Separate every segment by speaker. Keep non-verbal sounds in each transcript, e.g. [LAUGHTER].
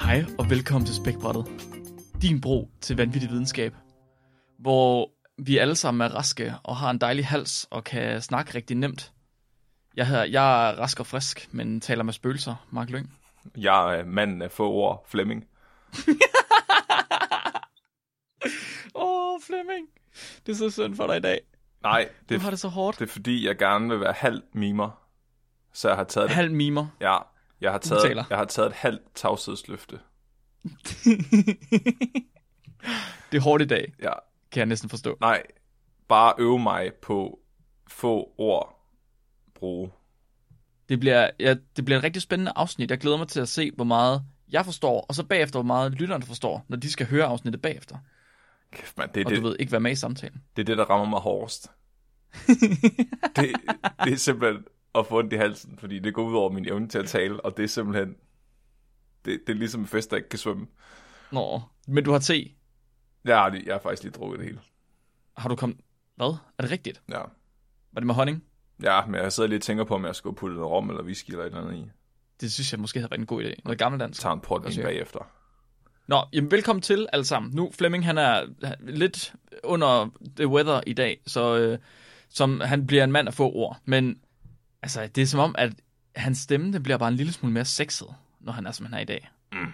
Speaker 1: Hej og velkommen til Spækbrættet. Din bro til vanvittig videnskab. Hvor vi alle sammen er raske og har en dejlig hals og kan snakke rigtig nemt. Jeg, hedder, jeg er rask og frisk, men taler med spøgelser, Mark Lyng.
Speaker 2: Jeg er manden af få ord, Flemming.
Speaker 1: Åh, oh, Flemming. Det er så synd for dig i dag.
Speaker 2: Nej,
Speaker 1: Du
Speaker 2: det,
Speaker 1: har det så hårdt.
Speaker 2: det er fordi, jeg gerne vil være halvt mimer. Så jeg har taget det.
Speaker 1: Halv
Speaker 2: [LAUGHS]
Speaker 1: mimer.
Speaker 2: Ja, jeg har
Speaker 1: betaler.
Speaker 2: taget, jeg har taget et halvt tavshedsløfte.
Speaker 1: Det er hårdt i dag,
Speaker 2: Ja,
Speaker 1: kan jeg næsten forstå.
Speaker 2: nej, bare øve mig på få ord bruge.
Speaker 1: Det bliver, ja, det bliver et rigtig spændende afsnit. Jeg glæder mig til at se, hvor meget jeg forstår, og så bagefter, hvor meget lytterne forstår, når de skal høre afsnittet bagefter.
Speaker 2: Kæft, man, det, er
Speaker 1: Og du
Speaker 2: det,
Speaker 1: ved ikke, hvad med i samtalen.
Speaker 2: det er det, der rammer mig
Speaker 1: [LAUGHS]
Speaker 2: hårdest. det, det er simpelthen at få ondt i halsen, fordi det går ud over min evne til at tale, og det er simpelthen... Det, det er ligesom en fest, der ikke kan svømme.
Speaker 1: Nå, men du har te.
Speaker 2: Jeg har, lige- jeg har faktisk lige drukket det hele.
Speaker 1: Har du kommet... Hvad? Er det rigtigt?
Speaker 2: Ja.
Speaker 1: Var det med honning?
Speaker 2: Ja, men jeg sidder lige og tænker på, om jeg skulle putte noget rom eller whisky eller et eller andet i.
Speaker 1: Det synes jeg måske havde været en god idé. Noget gammeldansk.
Speaker 2: Tager en portvin
Speaker 1: siger du?
Speaker 2: bagefter.
Speaker 1: Nå, jamen velkommen til alle sammen. Nu, Flemming, han er han- lidt under the weather i dag, så øh, som, han bliver en mand af få ord. Men altså, det er som om, at hans stemme den bliver bare en lille smule mere sexet, når han er, som han er i dag. Mm.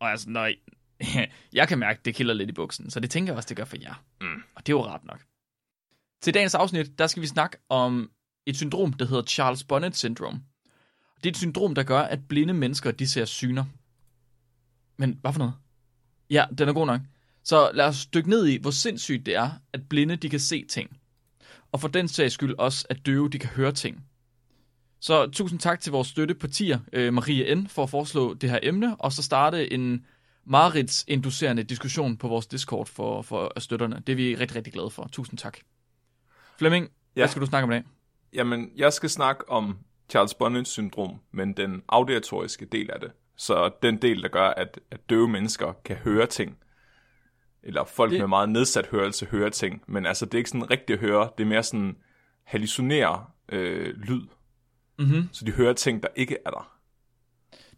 Speaker 1: Og altså, nej, [LAUGHS] jeg kan mærke, det kilder lidt i buksen, så det tænker jeg også, det gør for jer.
Speaker 2: Mm.
Speaker 1: Og det er jo rart nok. Til dagens afsnit, der skal vi snakke om et syndrom, der hedder Charles Bonnet syndrom. Det er et syndrom, der gør, at blinde mennesker, de ser syner. Men hvad for noget? Ja, den er god nok. Så lad os dykke ned i, hvor sindssygt det er, at blinde de kan se ting. Og for den sags skyld også, at døve de kan høre ting. Så tusind tak til vores støttepartier, øh, Marie N., for at foreslå det her emne, og så starte en marerids-inducerende diskussion på vores Discord for, for støtterne. Det er vi rigtig, rigtig glade for. Tusind tak. Flemming, ja.
Speaker 2: Ja.
Speaker 1: hvad skal du snakke om i dag?
Speaker 2: Jamen, jeg skal snakke om Charles Bonnets syndrom, men den auditoriske del af det. Så den del, der gør, at, at døve mennesker kan høre ting. Eller folk
Speaker 1: Det-
Speaker 2: det... med meget nedsat hørelse hører ting. Men altså, det er ikke sådan rigtigt at høre. Det er mere sådan hallucinere øh, lyd.
Speaker 1: Mhm.
Speaker 2: Så de hører ting, der ikke er der.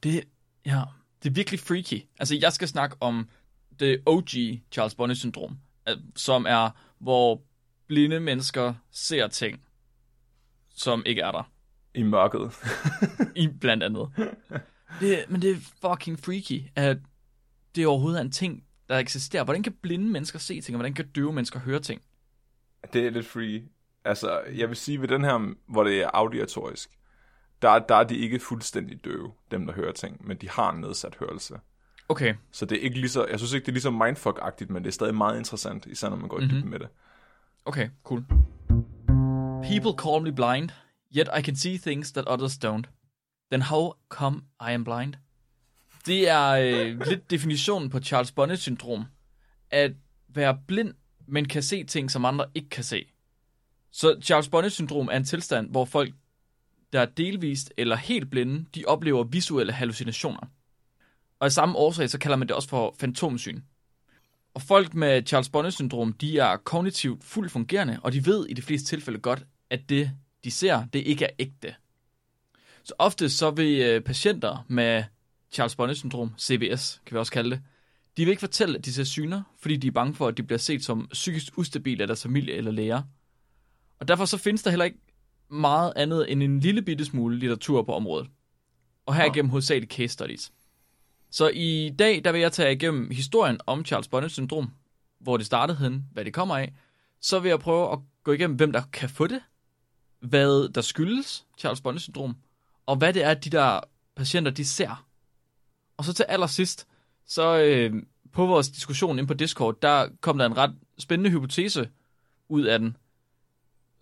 Speaker 1: Det, ja, det er virkelig freaky. Altså, jeg skal snakke om det OG Charles Bonnet-syndrom, øh, som er, hvor blinde mennesker ser ting, som ikke er der,
Speaker 2: I mørket.
Speaker 1: i blandt andet. Det, men det er fucking freaky, at det overhovedet er en ting, der eksisterer. Hvordan kan blinde mennesker se ting, og hvordan kan døve mennesker høre ting?
Speaker 2: Det er lidt free. Altså, jeg vil sige ved den her, hvor det er auditorisk, der, der er de ikke fuldstændig døve, dem der hører ting, men de har en nedsat hørelse.
Speaker 1: Okay,
Speaker 2: Så det er ikke lige så, jeg synes ikke, det er lige så mindfuck-agtigt, men det er stadig meget interessant, især når man går
Speaker 1: Mhm.
Speaker 2: mm-hmm. i dybden med det.
Speaker 1: okay, cool. People call me blind, yet I can see things that others don't. Then how come I am blind? Det er øh, lidt definitionen på Charles Bonnet-syndrom. At være blind, men kan se ting, som andre ikke kan se. Så Charles Bonnet-syndrom er en tilstand, hvor folk, der er delvist eller helt blinde, de oplever visuelle hallucinationer. Og af samme årsag, så kalder man det også for fantomsyn. Og folk med Charles Bonnet-syndrom, de er kognitivt fuldt fungerende, og de ved i de fleste tilfælde godt, at det, de ser, det ikke er ægte. Så ofte så vil øh, patienter med Charles Bonnet-syndrom, CBS kan vi også kalde det, de vil ikke fortælle, at de ser syner, fordi de er bange for, at de bliver set som psykisk ustabile af deres familie eller læger. Og derfor så findes der heller ikke meget andet end en lille bitte smule litteratur på området. Og her igennem hovedsageligt case studies. Så i dag, der vil jeg tage igennem historien om Charles Bonnet syndrom, hvor det startede hen, hvad det kommer af. Så vil jeg prøve at gå igennem, hvem der kan få det, hvad der skyldes Charles Bonnet syndrom, og hvad det er, de der patienter, de ser. Og så til allersidst, så øh, på vores diskussion inde på Discord, der kom der en ret spændende hypotese ud af den,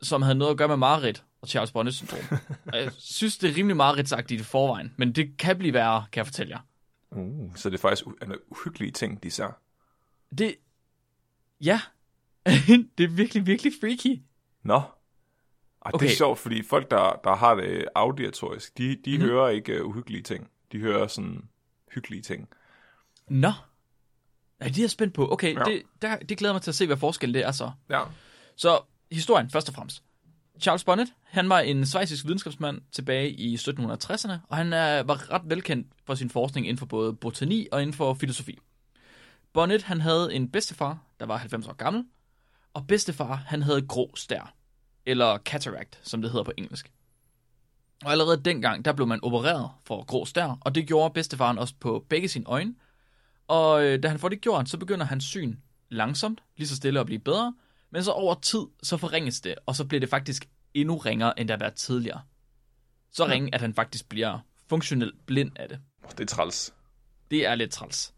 Speaker 1: som havde noget at gøre med mareridt, og Charles Bonnet syndrom. og jeg synes, det er rimelig meget retsagtigt i forvejen, men det kan blive værre, kan jeg fortælle jer.
Speaker 2: Uh, så det er faktisk u- altså, uhyggelige ting, de ser.
Speaker 1: Det... Ja. [LAUGHS] det er virkelig, virkelig freaky.
Speaker 2: Nå. Ej, okay.
Speaker 1: Okay.
Speaker 2: det er sjovt, fordi folk, der, der har det auditorisk, de,
Speaker 1: Mhm.
Speaker 2: de mm. hører ikke uh, uhyggelige ting. De hører sådan hyggelige ting.
Speaker 1: Nå. Nej, det er jeg spændt på. Okay,
Speaker 2: Ja.
Speaker 1: ja. det, der, det glæder jeg mig til at se, hvad forskellen det er så.
Speaker 2: Ja.
Speaker 1: Så historien først og fremmest. Charles Bonnet, han var en svejsisk videnskabsmand tilbage i 1760'erne, og han er, var ret velkendt for sin forskning inden for både botani og inden for filosofi. Bonnet, han havde en bedstefar, der var 90 år gammel, og bedstefar, han havde grå stær, eller cataract, som det hedder på engelsk. Og allerede dengang, der blev man opereret for grå stær, og det gjorde bedstefaren også på begge sine øjne. Og øh, da han får det gjort, så begynder hans syn langsomt, lige så stille at blive bedre, men så over tid, så forringes det, og så bliver det faktisk endnu ringere, end det har været tidligere. Så ringe, at han faktisk bliver funktionelt blind af det.
Speaker 2: Oh, Det er træls.
Speaker 1: Det er lidt træls.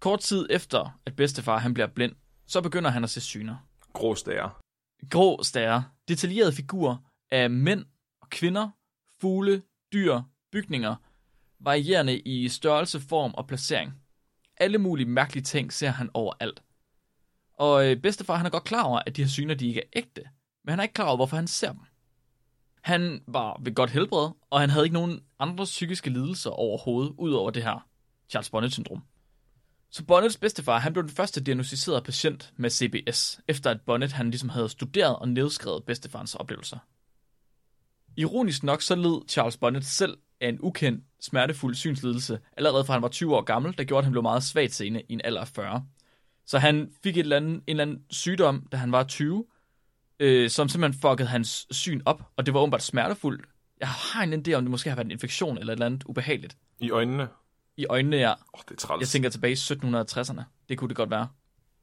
Speaker 1: Kort tid efter, at bedstefar han bliver blind, så begynder han at se syner.
Speaker 2: Grå stager.
Speaker 1: Grå stager, detaljerede figurer af mænd og kvinder, fugle, dyr, bygninger, varierende i størrelse, form og placering. Alle mulige mærkelige ting ser han overalt. Og øh, bedstefar han er godt klar over, at de her syner de ikke er ægte, men han er ikke klar over, hvorfor han ser dem. Han var ved godt helbred, og han havde ikke nogen andre psykiske lidelser overhovedet, ud over det her Charles Bonnet-syndrom. Så Bonnets bedstefar, han blev den første diagnostiserede patient med CBS, efter at Bonnet han ligesom havde studeret og nedskrevet bedstefarens oplevelser. Ironisk nok så led Charles Bonnet selv af en ukendt, smertefuld synslidelse, allerede fra han var 20 år gammel, der gjorde, at han blev meget svagt seende i en alder af 40. Så han fik et eller andet, en eller anden sygdom, da han var 20, øh, som simpelthen fuckede hans syn op, og det var åbenbart smertefuldt. Jeg har en idé om, det måske har været en infektion eller et eller andet ubehageligt
Speaker 2: I øjnene.
Speaker 1: i øjnene, jeg,
Speaker 2: Oh, det er træls.
Speaker 1: jeg tænker tilbage i 1760'erne. Det kunne det godt være.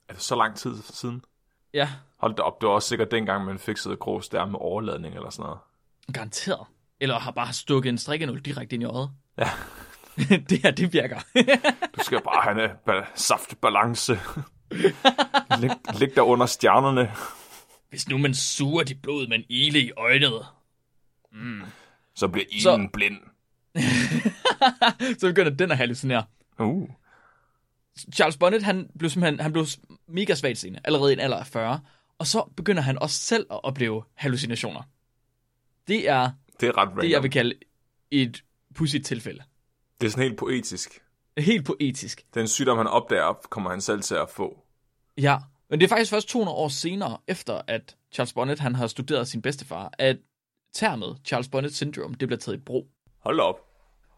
Speaker 2: Er det så lang tid siden?
Speaker 1: Ja,
Speaker 2: Hold da op, det var også sikkert dengang, man fikset grå stager med overladning eller sådan noget.
Speaker 1: garanteret. Eller har bare stukket en strikkenål direkte ind i øjet.
Speaker 2: Ja.
Speaker 1: [LAUGHS] det her, det virker. [LAUGHS]
Speaker 2: Du skal bare have en øh, ba- saftbalance. lig, lig der under stjernerne.
Speaker 1: Hvis nu man suger dit blod med en ile i øjnet,
Speaker 2: Så bliver ilen
Speaker 1: Så-
Speaker 2: så... blind.
Speaker 1: [LAUGHS] så begynder den at hallucinere.
Speaker 2: Uh.
Speaker 1: Charles Bonnet, han blev simpelthen han blev mega svagt seende, allerede i en alder af 40. Og så begynder han også selv at opleve hallucinationer. Det er
Speaker 2: Det er ret random.
Speaker 1: det, jeg vil kalde et pudsigt tilfælde.
Speaker 2: det er sådan helt poetisk.
Speaker 1: Helt poetisk.
Speaker 2: Den sygdom, han opdager, kommer han selv til at få.
Speaker 1: Ja, men det er faktisk først 200 år senere, efter at Charles Bonnet han har studeret sin bedstefar, at termet Charles Bonnet Syndrome, det bliver taget i brug.
Speaker 2: Hold da op.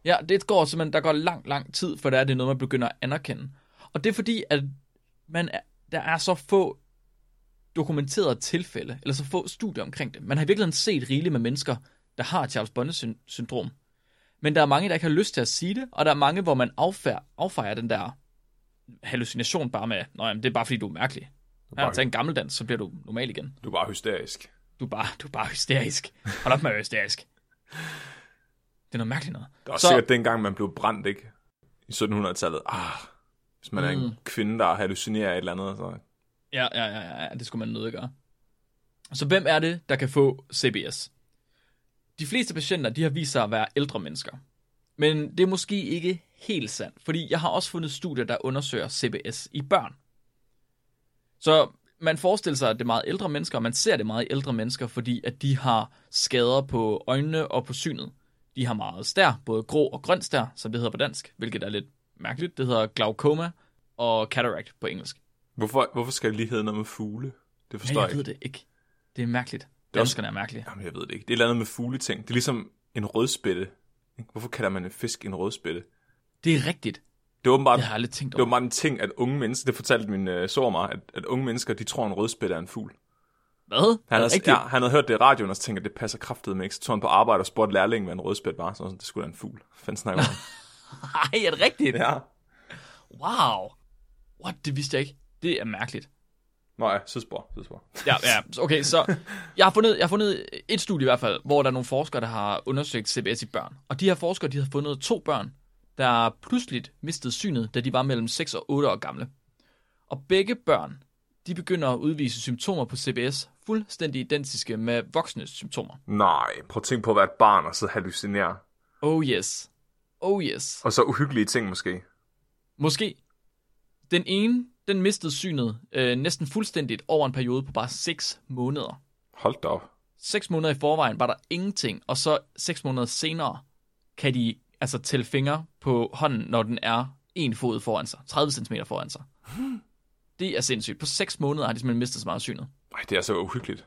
Speaker 1: Ja, det går simpelthen, der går lang, lang tid, for der er det noget, man begynder at anerkende. Og det er fordi, at man er, der er så få dokumenterede tilfælde, eller så få studier omkring det. Man har i virkeligheden set rigeligt med mennesker, der har Charles Bonnet syn- syndrom. Men der er mange, der ikke har lyst til at sige det, og der er mange, hvor man affærer, affejer den der hallucination bare med, nej, det er bare fordi, du er mærkelig. Her,
Speaker 2: bare-
Speaker 1: tag en gammeldans, så bliver du normal igen
Speaker 2: Du er bare hysterisk.
Speaker 1: du er bare, du er bare hysterisk. Hold op med at være hysterisk. [LAUGHS] Det er noget mærkeligt noget.
Speaker 2: Der var så... sikkert dengang, man blev brændt, ikke? I 1700-tallet. Ah, hvis man mm. er en kvinde, der hallucinerer et eller andet, så...
Speaker 1: ja, ja, ja, ja, ja, det skulle man nødt gøre. Så hvem er det, der kan få CBS? De fleste patienter, de har vist sig at være ældre mennesker. Men det er måske ikke helt sandt, fordi jeg har også fundet studier, der undersøger CBS i børn. Så man forestiller sig, at det er meget ældre mennesker, og man ser det meget i ældre mennesker, fordi at de har skader på øjnene og på synet. De har meget stær, både grå og grøn stær, som det hedder på dansk, hvilket er lidt mærkeligt. Det hedder glaukoma og cataract på engelsk.
Speaker 2: Hvorfor, hvorfor skal jeg lige hedde noget med fugle? Det
Speaker 1: Ja,
Speaker 2: forstår
Speaker 1: jeg
Speaker 2: jeg
Speaker 1: ved
Speaker 2: ikke.
Speaker 1: det ikke. Det er mærkeligt.
Speaker 2: er også-
Speaker 1: Danskerne er mærkelige.
Speaker 2: Jamen, jeg ved det ikke. Det er et eller andet med fugleting. Det er ligesom en rødspætte. ikke? Hvorfor kalder man en fisk en rødspætte?
Speaker 1: Det er rigtigt.
Speaker 2: Det er åbenbart,
Speaker 1: Jeg har aldrig tænkt
Speaker 2: det er
Speaker 1: over.
Speaker 2: åbenbart en ting, at unge mennesker... Det fortalte min øh, sår mig, at, at unge mennesker, de tror, en rødspætte er en fugl.
Speaker 1: Hvad?
Speaker 2: Han
Speaker 1: er
Speaker 2: havde,
Speaker 1: rigtigt?
Speaker 2: ja, han havde hørt det i radioen, og så tænkte, jeg, det passer kraftet med ikke. Så tog han på arbejde og spurgte lærlingen, hvad en rødspæt var. Så var han sådan, det skulle være en fugl. Fandt snakker
Speaker 1: [LAUGHS]
Speaker 2: om.
Speaker 1: Ej, er det rigtigt?
Speaker 2: ja.
Speaker 1: Wow. What? Det vidste jeg ikke. Det er mærkeligt.
Speaker 2: Nå ja, sødsbor, sødsbor.
Speaker 1: Ja, ja. Så, Okay, så jeg har, fundet, jeg har fundet et studie i hvert fald, hvor der er nogle forskere, der har undersøgt CBS i børn. Og de her forskere, de har fundet to børn, der pludselig mistede synet, da de var mellem 6 og 8 år gamle. Og begge børn, de begynder at udvise symptomer på CBS, fuldstændig identiske med voksnes symptomer.
Speaker 2: Nej, prøv at tænke på at være et barn og så hallucinere.
Speaker 1: Oh yes. Oh yes.
Speaker 2: Og så uhyggelige ting måske.
Speaker 1: Måske. Den ene, den mistede synet øh, næsten fuldstændigt over en periode på bare 6 måneder.
Speaker 2: Hold da op.
Speaker 1: 6 måneder i forvejen var der ingenting, og så 6 måneder senere kan de altså tælle fingre på hånden, når den er en fod foran sig, 30 cm foran sig. Det er sindssygt. På 6 måneder har de simpelthen mistet så meget af synet.
Speaker 2: Nej, det er så uhyggeligt.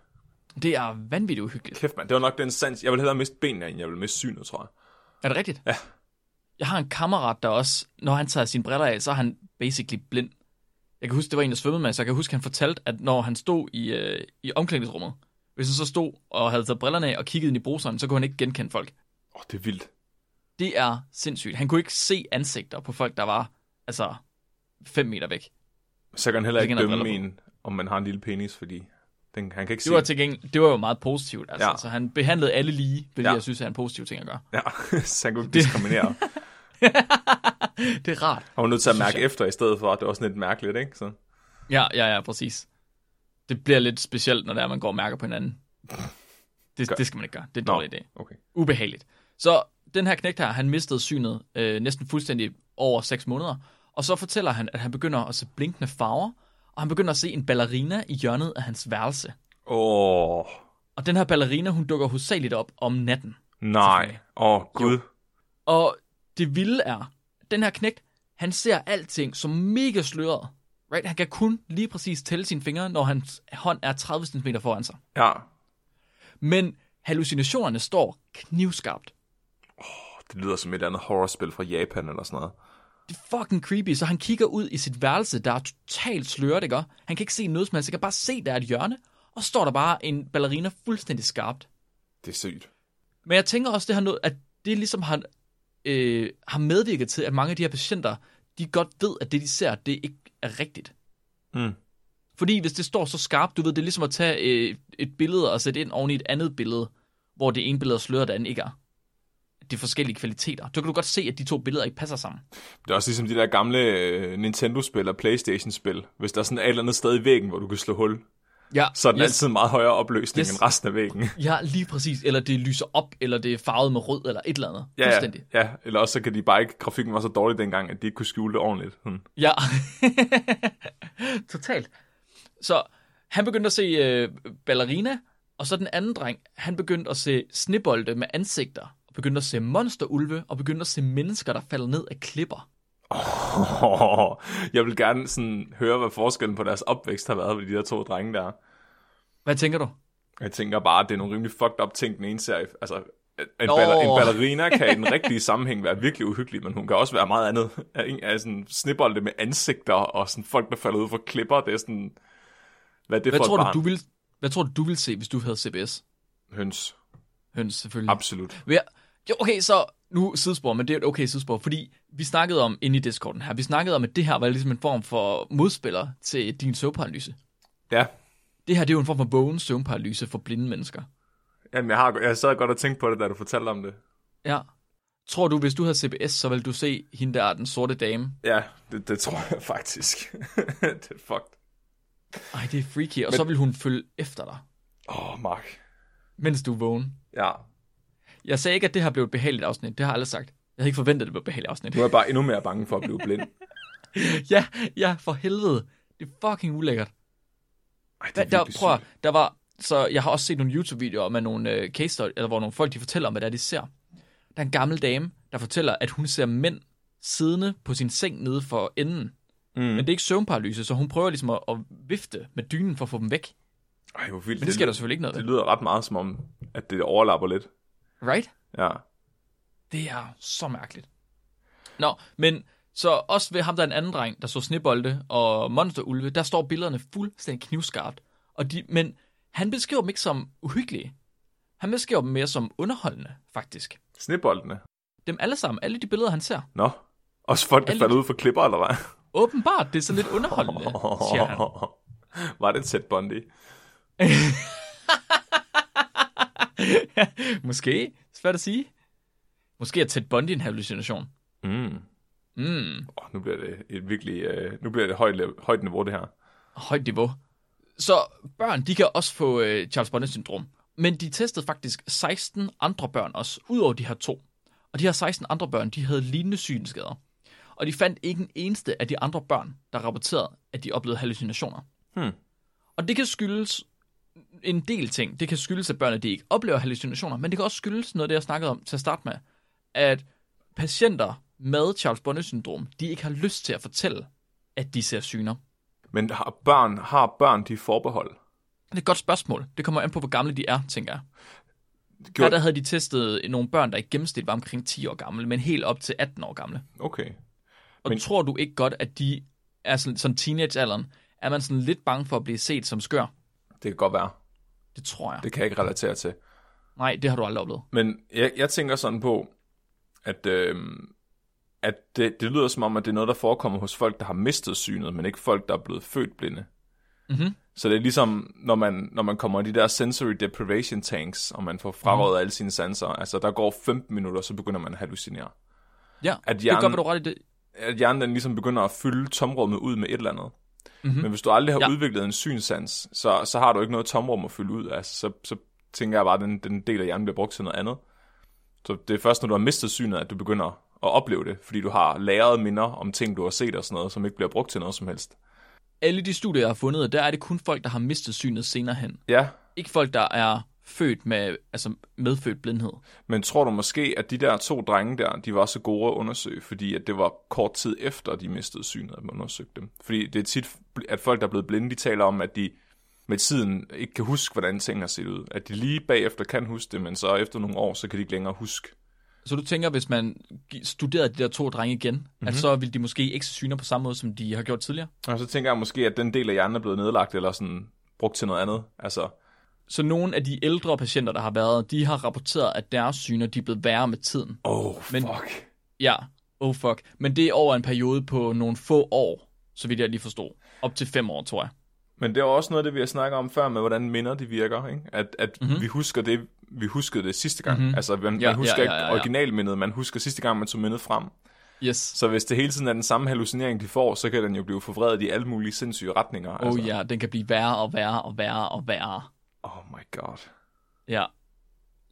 Speaker 1: Det er vanvittigt uhyggeligt.
Speaker 2: Kæft, mand. Det var nok den sans. Jeg ville hellere miste benene, end jeg ville miste synet, tror jeg.
Speaker 1: Er det rigtigt?
Speaker 2: Ja.
Speaker 1: Jeg har en kammerat, der også, når han tager sine briller af, så er han basically blind. Jeg kan huske, det var en, der svømmede med, så jeg kan huske, han fortalte, at når han stod i, øh, i omklædningsrummet, hvis han så stod og havde taget brillerne af og kigget ind i bruseren, så kunne han ikke genkende folk.
Speaker 2: Åh, oh, det er vildt.
Speaker 1: Det er sindssygt. Han kunne ikke se ansigter på folk, der var altså 5 meter væk.
Speaker 2: Så kan han heller
Speaker 1: Så
Speaker 2: ikke
Speaker 1: kan han
Speaker 2: dømme
Speaker 1: briller
Speaker 2: en, om man har en lille penis, fordi den, han kan ikke
Speaker 1: Det var,
Speaker 2: se.
Speaker 1: til gengæld, det var jo meget positivt, altså.
Speaker 2: Ja.
Speaker 1: Ja. Så han behandlede alle lige, hvilket
Speaker 2: Ja.
Speaker 1: ja. jeg synes er en positiv ting at gøre.
Speaker 2: [LAUGHS] Ja, så han kunne ikke diskriminere.
Speaker 1: Det er rart.
Speaker 2: Han var nødt til at
Speaker 1: Det synes
Speaker 2: mærke efter i stedet for, at det var sådan lidt mærkeligt, ikke? Så.
Speaker 1: Ja, ja, ja, præcis. Det bliver lidt specielt, når det er, man går og mærker på hinanden. Det,
Speaker 2: Gør-
Speaker 1: det skal man ikke gøre. Det er en
Speaker 2: Nå.
Speaker 1: dårlig idé.
Speaker 2: Okay.
Speaker 1: Ubehageligt. Så den her knægt her, han mistede synet øh, næsten fuldstændig over 6 måneder. Og så fortæller han, at han begynder at se blinkende farver, og han begynder at se en ballerina i hjørnet af hans værelse.
Speaker 2: Åh, oh,
Speaker 1: Og den her ballerina, hun dukker hovedsageligt op om natten.
Speaker 2: nej.
Speaker 1: Selvfølgelig.
Speaker 2: Åh, oh, gud.
Speaker 1: Og det vilde er, at den her knægt, han ser alting som mega sløret. Right? Han kan kun lige præcis tælle sine fingre, når hans hånd er 30 cm foran sig.
Speaker 2: Ja,
Speaker 1: Men hallucinationerne står knivskarpt.
Speaker 2: det lyder som et andet horrorspil fra Japan eller sådan noget.
Speaker 1: Det er fucking creepy, så han kigger ud i sit værelse, der er totalt sløret, ikke? Han kan ikke se noget som helst, han kan bare se, der er et hjørne, og så står der bare en ballerina fuldstændig skarpt.
Speaker 2: Det er sygt.
Speaker 1: Men jeg tænker også, det har noget, at det ligesom har, øh, har medvirket til, at mange af de her patienter, de godt ved, at det, de ser, det ikke er rigtigt.
Speaker 2: Mm.
Speaker 1: Fordi hvis det står så skarpt, du ved, det er ligesom at tage øh, et billede og sætte ind oven i et andet billede, hvor det ene billede er sløret, det andet ikke er. Det er forskellige kvaliteter. Så kan du godt se, at de to billeder ikke passer sammen.
Speaker 2: Det er også ligesom de der gamle øh, Nintendo-spil og Playstation-spil. Hvis der er sådan et eller andet sted i væggen, hvor du kan slå hul,
Speaker 1: Ja,
Speaker 2: så er den yes. altid meget højere opløsning yes.
Speaker 1: Yes.
Speaker 2: end resten af væggen. [LAUGHS]
Speaker 1: Ja, lige præcis. Eller det lyser op, eller det er farvet med rød, eller et eller andet.
Speaker 2: Ja, ja,
Speaker 1: Fuldstændig.
Speaker 2: ja, eller også så kan de bare ikke, grafikken var så dårlig dengang, at de ikke kunne skjule det ordentligt. Hmm.
Speaker 1: Ja. Totalt. Så han begyndte at se øh, ballerina, og så den anden dreng, han begyndte at se snibolde med ansigter, og begyndte at se monsterulve, og begyndte at se mennesker, der falder ned af klipper.
Speaker 2: Oh, jeg vil gerne sådan høre, hvad forskellen på deres opvækst har været ved de der to drenge der.
Speaker 1: Hvad tænker du?
Speaker 2: Jeg tænker bare, at det er nogle rimelig fucked up ting, den ene ser. i- Altså, en,
Speaker 1: Nå.
Speaker 2: baller, en ballerina kan i den rigtige sammenhæng være virkelig uhyggelig, men hun kan også være meget andet. Er en- Er sådan snibbolde med ansigter og sådan folk, der falder ud fra klipper. Det er sådan... Hvad er det
Speaker 1: Hvad
Speaker 2: for
Speaker 1: tror
Speaker 2: et
Speaker 1: du,
Speaker 2: barn?
Speaker 1: du vil, hvad tror du, du ville se, hvis du havde CBS?
Speaker 2: Høns.
Speaker 1: Høns, selvfølgelig.
Speaker 2: Absolut.
Speaker 1: Ja, jo, okay, så nu sidespor, men det er et okay sidespor, fordi vi snakkede om inde i Discorden her, vi snakkede om, at det her var ligesom en form for modspiller til din søvnparalyse.
Speaker 2: Ja.
Speaker 1: Det her, det er jo en form for vågen søvnparalyse for blinde mennesker.
Speaker 2: Jamen, jeg, har, jeg sad godt og tænkte på det, da du fortalte om det.
Speaker 1: Ja. Tror du, hvis du havde CBS, så ville du se hende der, den sorte dame?
Speaker 2: Ja, det, det tror jeg faktisk. [LAUGHS] det er fucked.
Speaker 1: Ej, det er freaky, og
Speaker 2: Men-
Speaker 1: så ville hun følge efter dig,
Speaker 2: Åh, oh, Mark.
Speaker 1: mens du er vågen.
Speaker 2: Ja,
Speaker 1: Jeg sagde ikke, at det her blev et behageligt afsnit, det har jeg aldrig sagt. Jeg havde ikke forventet, at det blev et behageligt afsnit.
Speaker 2: nu er jeg bare endnu mere bange for at blive blind.
Speaker 1: [LAUGHS] ja, ja, for helvede. Det er fucking ulækkert.
Speaker 2: [LAUGHS] Ej, det
Speaker 1: Der,
Speaker 2: er
Speaker 1: der,
Speaker 2: virkelig
Speaker 1: prøv at,
Speaker 2: sygt.
Speaker 1: der var, så jeg har også set nogle YouTube-videoer med nogle øh, case study, eller hvor nogle folk, de fortæller om, hvad det er, de ser. Der er en gammel dame, der fortæller, at hun ser mænd siddende på sin seng nede for enden.
Speaker 2: Mm.
Speaker 1: Men det er ikke søvnparalyse, så hun prøver ligesom at, at vifte med dynen for at få dem væk.
Speaker 2: Ej, hvor vildt.
Speaker 1: Men det sker der selvfølgelig ikke noget
Speaker 2: det
Speaker 1: ved.
Speaker 2: lyder ret meget som om, at det overlapper lidt.
Speaker 1: Right?
Speaker 2: Ja.
Speaker 1: Det er så mærkeligt. Nå, men så også ved ham, der er en anden dreng, der så snebolde og monsterulve, der står billederne fuldstændig knivskarpt. Og de, men han beskriver dem ikke som uhyggelige. Han beskriver dem mere som underholdende, faktisk.
Speaker 2: Sneboldene.
Speaker 1: Dem alle sammen, alle de billeder, han ser.
Speaker 2: Nå. Også folk, der
Speaker 1: Alt.
Speaker 2: falder ud for klipper, eller hvad?
Speaker 1: Åbenbart, det er sådan lidt underholdende, siger han.
Speaker 2: [LAUGHS]
Speaker 1: [LAUGHS]
Speaker 2: Var det Ted Bundy?
Speaker 1: Måske, svært at sige. Måske er Ted Bundy en hallucination.
Speaker 2: Mm.
Speaker 1: Mm,
Speaker 2: øh, Oh, nu bliver det et virkelig... Uh, nu bliver det højt, højt niveau, det her.
Speaker 1: højt niveau. Så børn, de kan også få øh, Charles Bonnet-syndrom. Men de testede faktisk 16 andre børn også, udover de her to. Og de her 16 andre børn, de havde lignende synsskader. Og de fandt ikke en eneste af de andre børn, der rapporterede, at de oplevede hallucinationer.
Speaker 2: Hmm.
Speaker 1: Og det kan skyldes en del ting. Det kan skyldes, at børnene de ikke oplever hallucinationer, men det kan også skyldes noget af det, jeg snakkede om til at starte med, at patienter med Charles Bonnet-syndrom, de ikke har lyst til at fortælle, at de ser syner.
Speaker 2: Men har børn, har børn de forbehold?
Speaker 1: Det er et godt spørgsmål. Det kommer an på, hvor gamle de er, tænker jeg. Her
Speaker 2: Gjorde...
Speaker 1: der havde de testet nogle børn, der i gennemsnit var omkring 10 år gamle, men helt op til 18 år gamle.
Speaker 2: Okay.
Speaker 1: Og
Speaker 2: Men-
Speaker 1: men... tror du ikke godt, at de er sådan, sådan teenagealderen, er man sådan lidt bange for at blive set som skør?
Speaker 2: Det kan godt være.
Speaker 1: Det tror jeg. Det...
Speaker 2: Det kan jeg ikke relatere til.
Speaker 1: Nej, det har du aldrig oplevet.
Speaker 2: Men jeg, jeg tænker sådan på, at, øh, at det, det lyder som om, at det er noget, der forekommer hos folk, der har mistet synet, men ikke folk, der er blevet født blinde.
Speaker 1: Mhm.
Speaker 2: Så det er ligesom, når man, når man kommer i de der sensory deprivation tanks, og man får frarådet alle sine sanser. Altså, der går 15 minutter, så begynder man at hallucinere.
Speaker 1: Ja,
Speaker 2: At
Speaker 1: at
Speaker 2: hjernen-
Speaker 1: hjernen... det gør, hvad du har ret i det.
Speaker 2: At hjernen den ligesom begynder at fylde tomrummet ud med et eller andet.
Speaker 1: Mhm.
Speaker 2: Men hvis du aldrig har ja.
Speaker 1: Ja.
Speaker 2: udviklet en synsans, så, så har du ikke noget tomrum at fylde ud af. Altså, så, så tænker jeg bare, at den, den del af hjernen bliver brugt til noget andet. Så det er først, når du har mistet synet, at du begynder at opleve det, fordi du har lagret minder om ting, du har set og sådan noget, som ikke bliver brugt til noget som helst.
Speaker 1: Alle de studier, jeg har fundet, der er det kun folk, der har mistet synet senere hen.
Speaker 2: Ja,
Speaker 1: Ikke folk, der er født med, altså medfødt blindhed.
Speaker 2: men tror du måske, at de der to drenge der, de var så gode at undersøge, fordi at det var kort tid efter, de mistede synet, at man undersøgte dem? Fordi det er tit, at folk, der er blevet blinde, de taler om, at de med tiden ikke kan huske, hvordan ting har set ud. At de lige bagefter kan huske det, men så efter nogle år, så kan de ikke længere huske,
Speaker 1: Så du tænker, hvis man gi- studerede de der to drenge igen, mm-hmm. at så ville de måske ikke se syner på samme måde, som de har gjort tidligere?
Speaker 2: Og så tænker jeg måske, at den del af hjernen er blevet nedlagt, eller sådan brugt til noget andet. Altså,
Speaker 1: Så nogle af de ældre patienter, der har været, de har rapporteret, at deres syner de er blevet værre med tiden.
Speaker 2: oh,
Speaker 1: Men-
Speaker 2: fuck.
Speaker 1: Ja, oh fuck. Men det er over en periode på nogle få år, så vidt jeg lige forstod. Op til fem år, tror jeg.
Speaker 2: Men det er også noget af det, vi har snakket om før, med hvordan minder de virker, ikke? At, at mm-hmm. vi husker det, vi huskede det sidste gang. Mm-hmm. Altså, man, ja, man husker ja, ja, ja,
Speaker 1: ja.
Speaker 2: ikke originalmindet, man husker sidste gang, man tog mindet frem.
Speaker 1: Yes.
Speaker 2: Så hvis det hele tiden er den samme hallucinering, de får, så kan den jo blive forvredet i alle mulige sindssyge retninger. Altså,
Speaker 1: Oh ja, yeah, den kan blive værre og værre og værre og værre.
Speaker 2: Oh my god.
Speaker 1: Ja.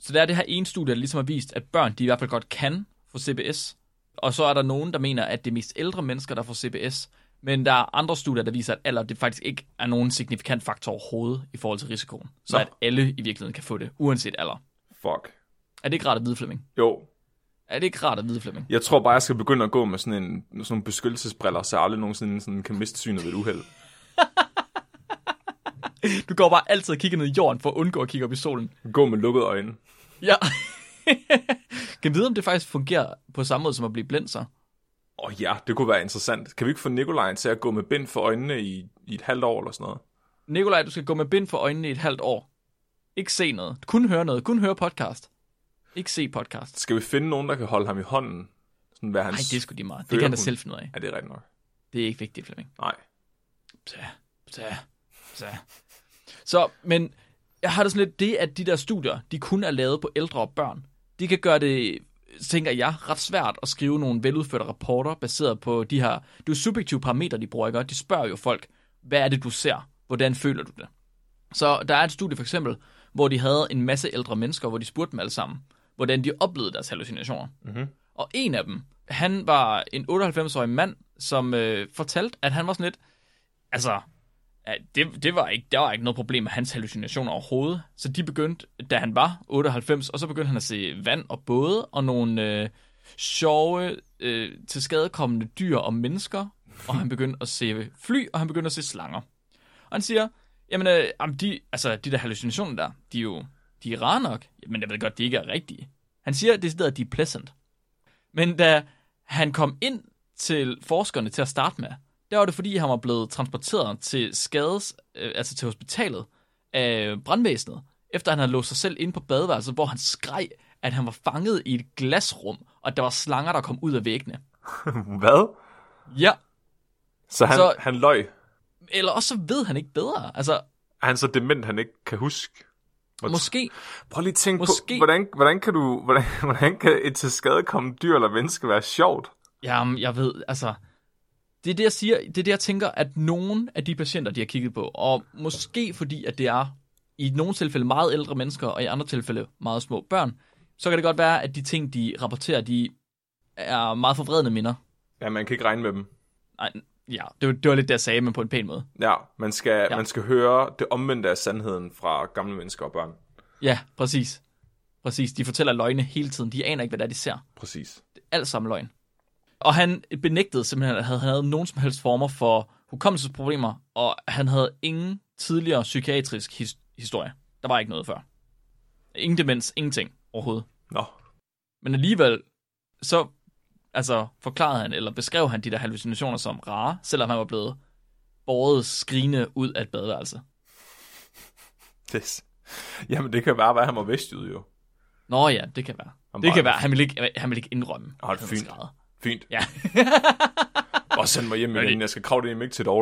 Speaker 1: Så der er det her ene studie, der ligesom har vist, at børn, de i hvert fald godt kan få CBS. Og så er der nogen, der mener, at det er mest ældre mennesker, der får CBS. Men der er andre studier, der viser, at alder det faktisk ikke er nogen signifikant faktor overhovedet i forhold til risikoen. Så
Speaker 2: Nå.
Speaker 1: Nå. at alle i virkeligheden kan få det, uanset alder.
Speaker 2: Fuck.
Speaker 1: Er det ikke rart at vide, Flemming?
Speaker 2: Jo,
Speaker 1: Er det ikke rart at vide, Flemming?
Speaker 2: jeg tror bare, jeg skal begynde at gå med sådan, en, sådan nogle beskyttelsesbriller, så jeg aldrig nogensinde sådan kan miste synet ved et uheld.
Speaker 1: Du går bare altid og kigger ned i jorden for at undgå at kigge op i solen.
Speaker 2: Gå med lukkede øjne.
Speaker 1: Ja. [LAUGHS] kan vide, om det faktisk fungerer på samme måde som at blive blind så?
Speaker 2: Åh oh, ja, det kunne være interessant. Kan vi ikke få Nikolaj til at gå med bind for øjnene i, i et halvt år eller sådan noget?
Speaker 1: Nikolaj, du skal gå med bind for øjnene i et halvt år. Ikke se noget. Kun høre noget. Kun høre podcast. Ikke se podcast.
Speaker 2: Skal vi finde nogen, der kan holde ham i hånden? Sådan være hans...
Speaker 1: Nej, det er sgu lige meget. Det
Speaker 2: Fører
Speaker 1: kan han da
Speaker 2: hun.
Speaker 1: selv finde ud af.
Speaker 2: Ja, det er rigtigt nok.
Speaker 1: Det er ikke vigtigt, Flemming.
Speaker 2: Nej. [LAUGHS]
Speaker 1: Så, så, så. Så, men jeg har det sådan lidt, det at de der studier, de kun er lavet på ældre og børn, de kan gøre det, tænker jeg, ret svært at skrive nogle veludførte rapporter, baseret på de her, det er jo subjektive parametre, de bruger, ikke? Og De spørger jo folk, hvad er det, du ser? Hvordan føler du det? Så der er et studie for eksempel, hvor de havde en masse ældre mennesker, hvor de spurgte dem alle sammen, hvordan de oplevede deres hallucinationer.
Speaker 2: Mhm.
Speaker 1: Og en af dem, han var en 98-årig mand, som øh, fortalte, at han var sådan lidt, altså, at det, det var ikke, der var ikke noget problem med hans hallucinationer overhovedet. Så de begyndte, da han var 98, og så begyndte han at se vand og både og nogle øh, sjove, øh, tilskadekommende dyr og mennesker. Og han begyndte at se fly, og han begyndte at se slanger. Og han siger, jamen, øh, jamen de, altså, de der hallucinationer der, de er jo de er rare nok, men jeg ved godt, de ikke er rigtige. Han siger decideret, at de er pleasant. Men da han kom ind til forskerne til at starte med, der var det fordi, han var blevet transporteret til skades, øh, altså til hospitalet af brandvæsenet, efter han havde låst sig selv ind på badeværelset, hvor han skreg, at han var fanget i et glasrum, og at der var slanger, der kom ud af væggene.
Speaker 2: Hvad?
Speaker 1: Ja,
Speaker 2: Så han, så
Speaker 1: Så-
Speaker 2: han løg.
Speaker 1: eller også så ved han ikke bedre. Altså,
Speaker 2: Er han så dement, han ikke kan huske? Hvor-
Speaker 1: måske,
Speaker 2: Prøv lige at tænke på,
Speaker 1: Måske-
Speaker 2: hvordan, hvordan kan du, hvordan, [LAUGHS] hvordan kan et til skade komme dyr eller menneske være sjovt?
Speaker 1: jamen, jeg ved, altså, det er det, jeg siger, det er det, jeg tænker, at nogen af de patienter, de har kigget på, og måske fordi, at det er i nogle tilfælde meget ældre mennesker, og i andre tilfælde meget små børn, så kan det godt være, at de ting, de rapporterer, de er meget forvredende minder.
Speaker 2: Ja, man kan ikke regne med dem.
Speaker 1: Nej, ja, det var, det var lidt det, jeg sagde, men på en pæn måde.
Speaker 2: Ja, man skal,
Speaker 1: Ja.
Speaker 2: ja. man skal høre det omvendte af sandheden fra gamle mennesker og børn.
Speaker 1: Ja, præcis. Præcis, de fortæller løgne hele tiden. De aner ikke, hvad det er, de ser.
Speaker 2: Præcis.
Speaker 1: alt sammen løgn. Og han benægtede simpelthen, at han havde nogen som helst former for hukommelsesproblemer, og han havde ingen tidligere psykiatrisk his- historie. Der var ikke noget før. Ingen demens, ingenting overhovedet.
Speaker 2: Nå,
Speaker 1: Men alligevel, så altså, forklarede han, eller beskrev han de der hallucinationer som rare, selvom han var blevet båret skrigende ud af et badeværelse.
Speaker 2: det, [LAUGHS] jamen det kan bare være, at han var vestjyd jo.
Speaker 1: Nå ja, det kan være.
Speaker 2: Han
Speaker 1: Det
Speaker 2: var-
Speaker 1: kan være. Han ville ikke, han ville ikke indrømme.
Speaker 2: Hold
Speaker 1: at han var
Speaker 2: fint.
Speaker 1: skrædder.
Speaker 2: Fint.
Speaker 1: Ja.
Speaker 2: [LAUGHS] Og send mig hjem
Speaker 1: Men
Speaker 2: igen,
Speaker 1: det-
Speaker 2: jeg skal kravle ind i mig til dig.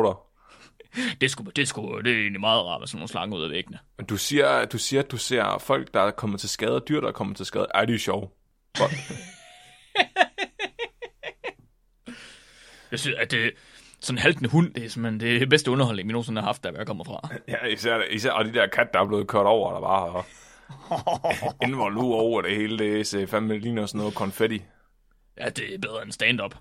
Speaker 1: det, skulle, det, skulle, det er egentlig meget rart med sådan nogle slanger ud af væggene.
Speaker 2: Men Du siger, du siger, at du ser folk, der er kommet til skade, og dyr, der er kommet til skade. Ej, det er sjovt. Hvor-
Speaker 1: Jeg synes, at det, sådan en haltende hund, det er simpelthen det bedste underholdning, vi nogensinde har haft, der jeg kommer fra.
Speaker 2: ja, især, især, og de der kat, der er blevet kørt over, der bare [LAUGHS] og involver over det hele, det ser fandme ligner sådan noget konfetti.
Speaker 1: Ja, det er bedre end stand-up.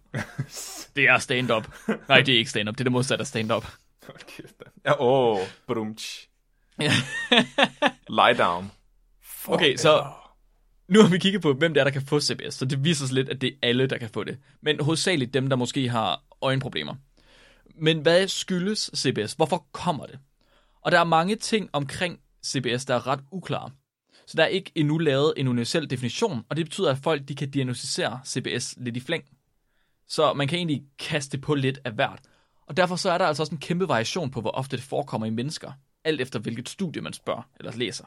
Speaker 1: Det er stand-up. Nej, det er ikke stand-up. Det er det modsatte af stand-up.
Speaker 2: Hold kæft, da. Ja, åh, brumtsch. Lie down. Fuck
Speaker 1: Okay, så nu har vi kigget på, hvem det er, der kan få CBS, så det viser sig lidt, at det er alle, der kan få det. Men hovedsageligt dem, der måske har øjenproblemer. Men hvad skyldes CBS? Hvorfor kommer det? Og der er mange ting omkring CBS, der er ret uklare. Så der er ikke endnu lavet en universel definition, og det betyder, at folk de kan diagnostisere CBS lidt i flæng. Så man kan egentlig kaste på lidt af hvert. Og derfor så er der altså også en kæmpe variation på, hvor ofte det forekommer i mennesker, alt efter hvilket studie man spørger eller læser.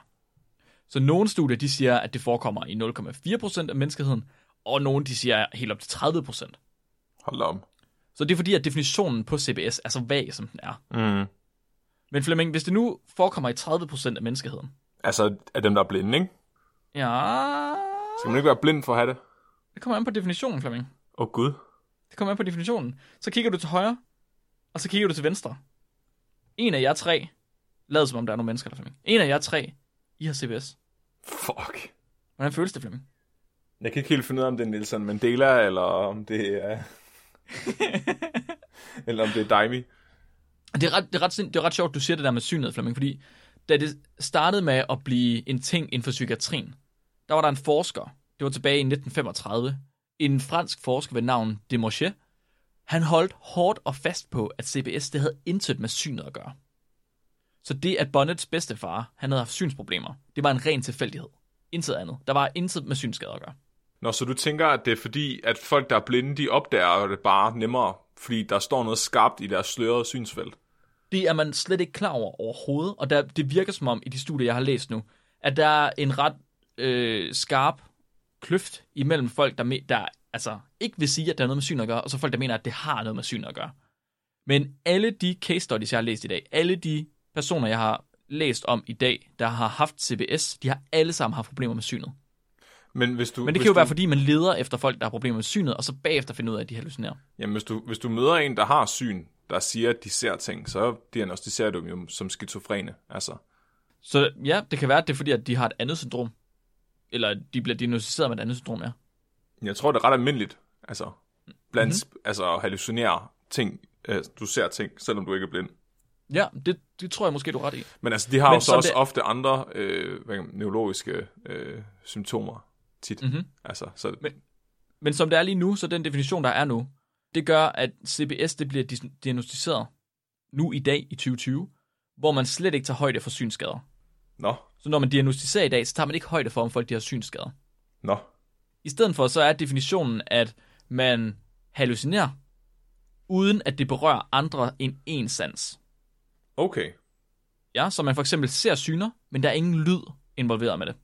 Speaker 1: Så nogle studier, de siger, at det forekommer i 0,4% af menneskeheden, og nogle, de siger helt op til 30%.
Speaker 2: Hold da op.
Speaker 1: Så det er fordi, at definitionen på CBS er så vag, som den er.
Speaker 2: Mm.
Speaker 1: Men Flemming, hvis det nu forekommer i 30% af menneskeheden,
Speaker 2: Altså, er dem, der er blinde, ikke?
Speaker 1: ja,
Speaker 2: Skal man ikke være blind for at have det?
Speaker 1: det kommer an på definitionen, Flemming.
Speaker 2: Åh, oh, gud.
Speaker 1: Det kommer an på definitionen. Så kigger du til højre, og så kigger du til venstre. En af jer tre, lad som om der er nogle mennesker der, Flemming. En af jer tre, I har CBS.
Speaker 2: Fuck.
Speaker 1: Hvordan føles det, Flemming?
Speaker 2: Jeg kan ikke helt finde ud af, om det er Nelson Mandela, eller om det [LAUGHS] er... eller om det er Daimi.
Speaker 1: Og Det er, ret, det, er ret, sind- det er ret sjovt, du siger det der med synet, Flemming, fordi da det startede med at blive en ting inden for psykiatrien, der var der en forsker, det var tilbage i 1935, en fransk forsker ved navn Desmarchais, han holdt hårdt og fast på, at CBS det havde intet med synet at gøre. Så det, at Bonnets bedstefar, han havde haft synsproblemer, det var en ren tilfældighed. Intet andet. Der var intet med synsskader at gøre.
Speaker 2: Nå, så du tænker, at det er fordi, at folk, der er blinde, de opdager det bare nemmere, fordi der står noget skarpt i deres slørede synsfelt.
Speaker 1: Det er man slet ikke klar over overhovedet, og der, det virker som om i de studier, jeg har læst nu, at der er en ret øh, skarp kløft imellem folk, der, me, der altså, ikke vil sige, at der er noget med syn at gøre, og så folk, der mener, at det har noget med syn at gøre. Men alle de case studies, jeg har læst i dag, alle de personer, jeg har læst om i dag, der har haft CBS, de har alle sammen haft problemer med synet.
Speaker 2: Men, hvis du,
Speaker 1: Men det
Speaker 2: hvis
Speaker 1: kan jo
Speaker 2: du,
Speaker 1: være, fordi man leder efter folk, der har problemer med synet, og så bagefter finder ud af, at de hallucinerer.
Speaker 2: Jamen, hvis du, hvis du møder en, der har syn, der siger, at de ser ting, så diagnostiserer du dem jo som skizofrene. Altså,
Speaker 1: Så ja, det kan være, at det er fordi, at de har et andet syndrom. Eller at de bliver diagnosticeret med et andet syndrom, ja.
Speaker 2: jeg tror, det er ret almindeligt. Altså, blandt,
Speaker 1: Mhm.
Speaker 2: mm-hmm. altså at hallucinere ting. Øh, du ser ting, selvom du ikke er blind.
Speaker 1: Ja, det, det tror jeg måske, du er ret i.
Speaker 2: Men altså, de har
Speaker 1: Men
Speaker 2: jo så
Speaker 1: som
Speaker 2: også
Speaker 1: det-
Speaker 2: det... ofte andre øh, hvad kan man- neurologiske øh, symptomer tit.
Speaker 1: Mhm.
Speaker 2: Altså, så,
Speaker 1: Men- Men som det er lige nu, så den definition, der er nu, det gør, at CBS det bliver dis- diagnostiseret nu i dag i 2020, hvor man slet ikke tager højde for synsskader.
Speaker 2: nå,
Speaker 1: Så når man diagnostiserer i dag, så tager man ikke højde for, om folk de har synsskader.
Speaker 2: nå.
Speaker 1: I stedet for, så er definitionen, at man hallucinerer, uden at det berører andre end én sans.
Speaker 2: Okay.
Speaker 1: Ja, så man for eksempel ser syner, men der er ingen lyd involveret med det.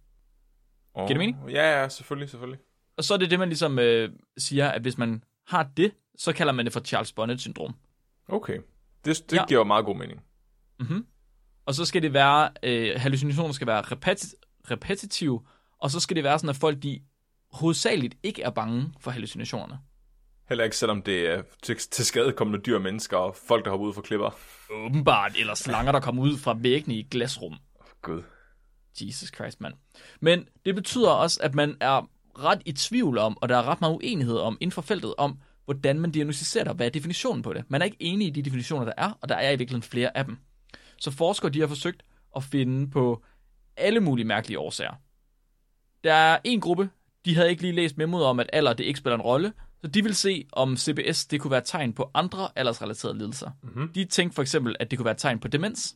Speaker 2: Oh.
Speaker 1: Giver det mening?
Speaker 2: Ja, ja, selvfølgelig, selvfølgelig.
Speaker 1: Og så er det det, man ligesom øh, siger, at hvis man har det, så kalder man det for Charles Bonnet-syndrom.
Speaker 2: Okay. Det, det
Speaker 1: Ja.
Speaker 2: ja. giver jo meget god mening.
Speaker 1: Og så skal det være, øh, hallucinationer skal være repeti- repetitive, og så skal det være sådan, at folk de hovedsageligt ikke er bange for hallucinationerne.
Speaker 2: Heller ikke selvom det er til, til skadekommende dyr og mennesker og folk, der hopper ud fra klipper.
Speaker 1: Åbenbart, eller slanger, der kommer ud fra væggene i et glasrum.
Speaker 2: Gud.
Speaker 1: Jesus Christ, mand. Men det betyder også, at man er ret i tvivl om, og der er ret meget uenighed om inden for feltet, om hvordan man diagnostiserer det, og hvad er definitionen på det. Man er ikke enig i de definitioner, der er, og der er i virkeligheden flere af dem. Så forskere de har forsøgt at finde på alle mulige mærkelige årsager. Der er en gruppe, de havde ikke lige læst memoet om, at alder det ikke spiller en rolle, så de vil se, om CBS det kunne være et tegn på andre aldersrelaterede lidelser. Mm-hmm. De tænkte for eksempel, at det kunne være et tegn på demens,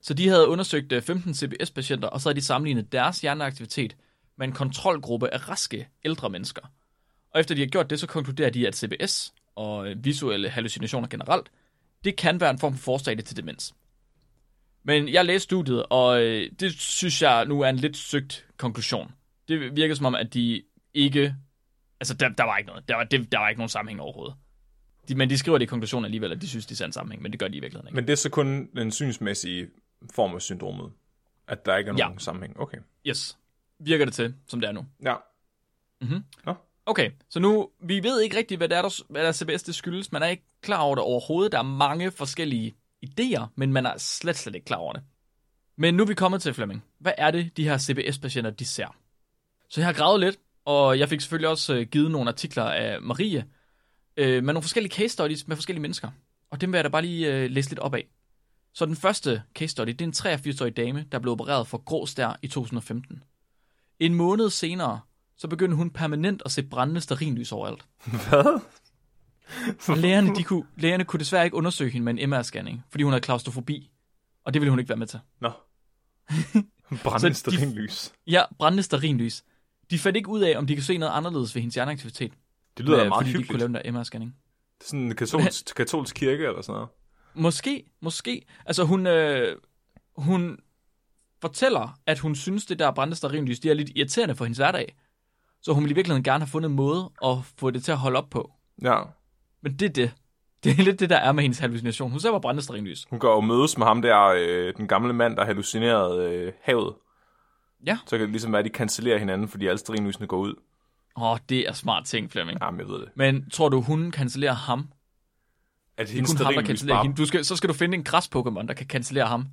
Speaker 1: så de havde undersøgt øh, 15 CBS-patienter, og så havde de sammenlignet deres hjerneaktivitet med en kontrolgruppe af raske ældre mennesker. Og efter de har gjort det, så konkluderer de, at CBS og øh, visuelle hallucinationer generelt, det kan være en form for forstadie til demens. Men jeg læste studiet, og øh, det synes jeg nu er en lidt søgt konklusion. Det virker som om, at de ikke... Altså, der, der var ikke noget. Der var, det, der var ikke nogen sammenhæng overhovedet. De, men de skriver det i konklusionen alligevel, at de synes, de ser en sammenhæng, men det gør de i virkeligheden ikke.
Speaker 2: Men det er så kun den synsmæssige form af syndromet, at der ikke er
Speaker 1: Ja.
Speaker 2: nogen sammenhæng. Okay.
Speaker 1: Yes. Virker det til, som det er nu.
Speaker 2: Ja.
Speaker 1: Okay, så nu, vi ved ikke rigtigt, hvad der er, der, hvad der er CBS, det skyldes. Man er ikke klar over det overhovedet. Der er mange forskellige idéer, men man er slet, slet ikke klar over det. Men nu er vi kommet til, Flemming. Hvad er det, de her CBS-patienter, de ser? Så jeg har gravet lidt, og jeg fik selvfølgelig også øh, givet nogle artikler af Marie, øh, med nogle forskellige case studies med forskellige mennesker. Og dem vil jeg da bare lige øh, læse lidt op af. Så den første case study, det er en 83-årig dame, der blev opereret for grå stær i 2015. En måned senere, så begyndte hun permanent at se brændende starinlys overalt.
Speaker 2: Hvad?
Speaker 1: Lægerne, de kunne, lægerne kunne desværre ikke undersøge hende med en MR-scanning, fordi hun havde klaustrofobi, og det ville hun ikke være med til.
Speaker 2: Nå.
Speaker 1: [LAUGHS] Så
Speaker 2: Brændende
Speaker 1: de-
Speaker 2: sterinlys.
Speaker 1: Ja, brændende starinlys. De fandt ikke ud af, om de kunne se noget anderledes ved hendes hjerneaktivitet,
Speaker 2: Det lyder da
Speaker 1: øh,
Speaker 2: meget
Speaker 1: fordi de ikke
Speaker 2: hyggeligt.
Speaker 1: kunne lave den der MR-scanning.
Speaker 2: Det er sådan
Speaker 1: [LAUGHS]
Speaker 2: en katolsk, katolsk kirke eller sådan noget.
Speaker 1: Måske, måske. Altså hun, øh, hun fortæller, at hun synes, det der brændte starinlys, de er lidt irriterende for hendes hverdag. Så hun ville i virkeligheden gerne have fundet en måde at få det til at holde op på.
Speaker 2: Ja.
Speaker 1: Men det er det. Det er lidt det, der er med hendes hallucination. Hun ser bare brændende starinlys.
Speaker 2: Hun går og mødes med ham der, øh, den gamle mand, der hallucinerede øh, havet.
Speaker 1: Ja.
Speaker 2: Så kan det ligesom være, at de cancellerer hinanden, fordi alle sterinlysene går ud.
Speaker 1: Åh, det er smart ting, Flemming.
Speaker 2: Jamen, jeg ved det.
Speaker 1: Men tror du, hun kancellerer ham? Det
Speaker 2: At
Speaker 1: er
Speaker 2: hendes
Speaker 1: kun ham, der
Speaker 2: stearinlys
Speaker 1: kancellerer
Speaker 2: bare-
Speaker 1: hende. Du skal, så skal du finde en græs-Pokémon, der kan cancellere ham.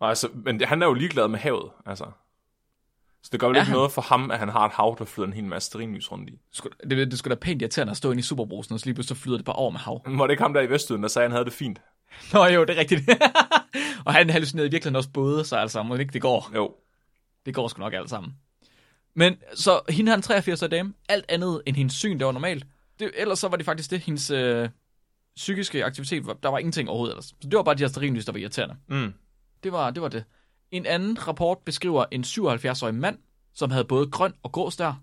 Speaker 2: Nej, altså, men han er jo ligeglad med havet, altså. Så det gør vel
Speaker 1: Er
Speaker 2: ikke
Speaker 1: han?
Speaker 2: noget for ham, at han har et hav, der flyder en hel masse sterinlys rundt i.
Speaker 1: Sku- Det, det skulle da pænt irriterende at stå inde i superbrusen, og så lige pludselig så flyder det bare over med hav. [LAUGHS]
Speaker 2: Men Var det ikke ham der i Vestjylland, der sagde, at han havde det fint?
Speaker 1: Nå jo, det er rigtigt. [LAUGHS] og han hallucinerede i virkeligheden også både, så altså, må ikke det går.
Speaker 2: Jo.
Speaker 1: Det går sgu nok alt sammen. Men så hende har en 83 årig dame, alt andet end hendes syn, der var normalt. Det, ellers så var det faktisk det, hendes øh, psykiske aktivitet, var- der var ingenting overhovedet ellers. Så det var bare de her sterinlys, der var irriterende.
Speaker 2: Mm.
Speaker 1: Det var, det var det. En anden rapport beskriver en 77-årig mand, som havde både grøn og grå stær.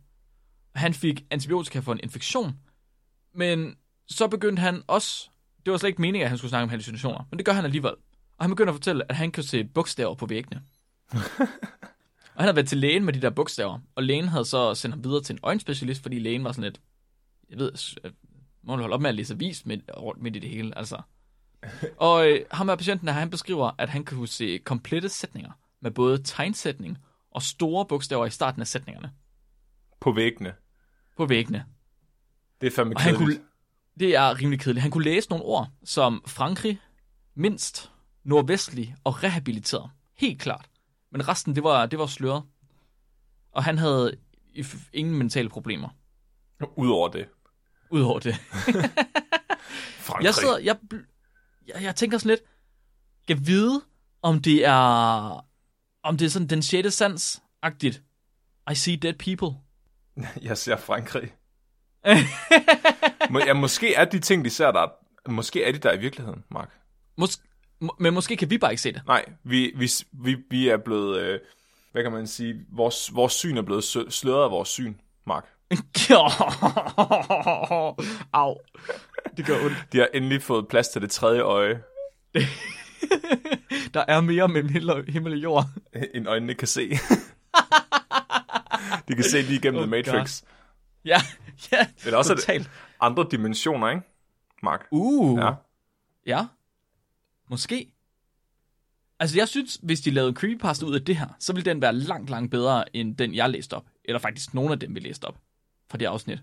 Speaker 1: Han fik antibiotika for en infektion, men så begyndte han også... Det var slet ikke meningen, at han skulle snakke om hallucinationer, men det gør han alligevel. Og han begynder at fortælle, at han kan se bogstaver på væggene. og han havde været til lægen med de der bogstaver, og lægen havde så sendt ham videre til en øjenspecialist, fordi lægen var sådan lidt... Jeg ved, s- øh, må du holde op med at læse avis midt, rundt midt i det hele, altså. Og øh, ham og patienten her, han beskriver, at han kan kunne se komplette sætninger med både tegnsætning og store bogstaver i starten af sætningerne
Speaker 2: På væggene.
Speaker 1: på væggene.
Speaker 2: Det er fandme
Speaker 1: Og han
Speaker 2: kedeligt.
Speaker 1: kunne, det er rimelig kedeligt. Han kunne læse nogle ord som Frankrig, mindst, nordvestlig og rehabiliteret. Helt klart. Men resten, det var, det var sløret. Og han havde if- ingen mentale problemer,
Speaker 2: Udover det.
Speaker 1: udover det.
Speaker 2: Frankrig.
Speaker 1: Jeg sidder, jeg, bl- jeg, jeg tænker sådan lidt, kan vide, om det er, om det er sådan den sjette sans-agtigt. I see dead people.
Speaker 2: [LAUGHS] Jeg ser
Speaker 1: [LAUGHS]
Speaker 2: Frankrig. Må, ja, måske er de ting, de ser der, måske er de der i virkeligheden, Mark.
Speaker 1: Mås- må- men måske kan vi bare ikke se det.
Speaker 2: Nej, vi, vi, vi, vi er blevet, øh, hvad kan man sige, vores, vores syn er blevet sø- sløret af vores syn, Mark.
Speaker 1: [LAUGHS] Au. Det gør ondt.
Speaker 2: De har endelig fået plads til det tredje øje, [LAUGHS]
Speaker 1: Der er mere mellem himmel og- himmel og jord.
Speaker 2: end øjnene kan se. [LAUGHS] de kan se lige igennem oh
Speaker 1: Oh
Speaker 2: The Matrix. God.
Speaker 1: Ja, ja.
Speaker 2: Eller også er det-
Speaker 1: totalt.
Speaker 2: Andre dimensioner, ikke, Mark?
Speaker 1: Uh.
Speaker 2: Ja.
Speaker 1: Ja. Måske. Altså, jeg synes, hvis de lavede en creepypasta ud af det her, så ville den være langt, langt bedre end den, jeg læste op. Eller faktisk nogen af dem, vi læste op fra det afsnit.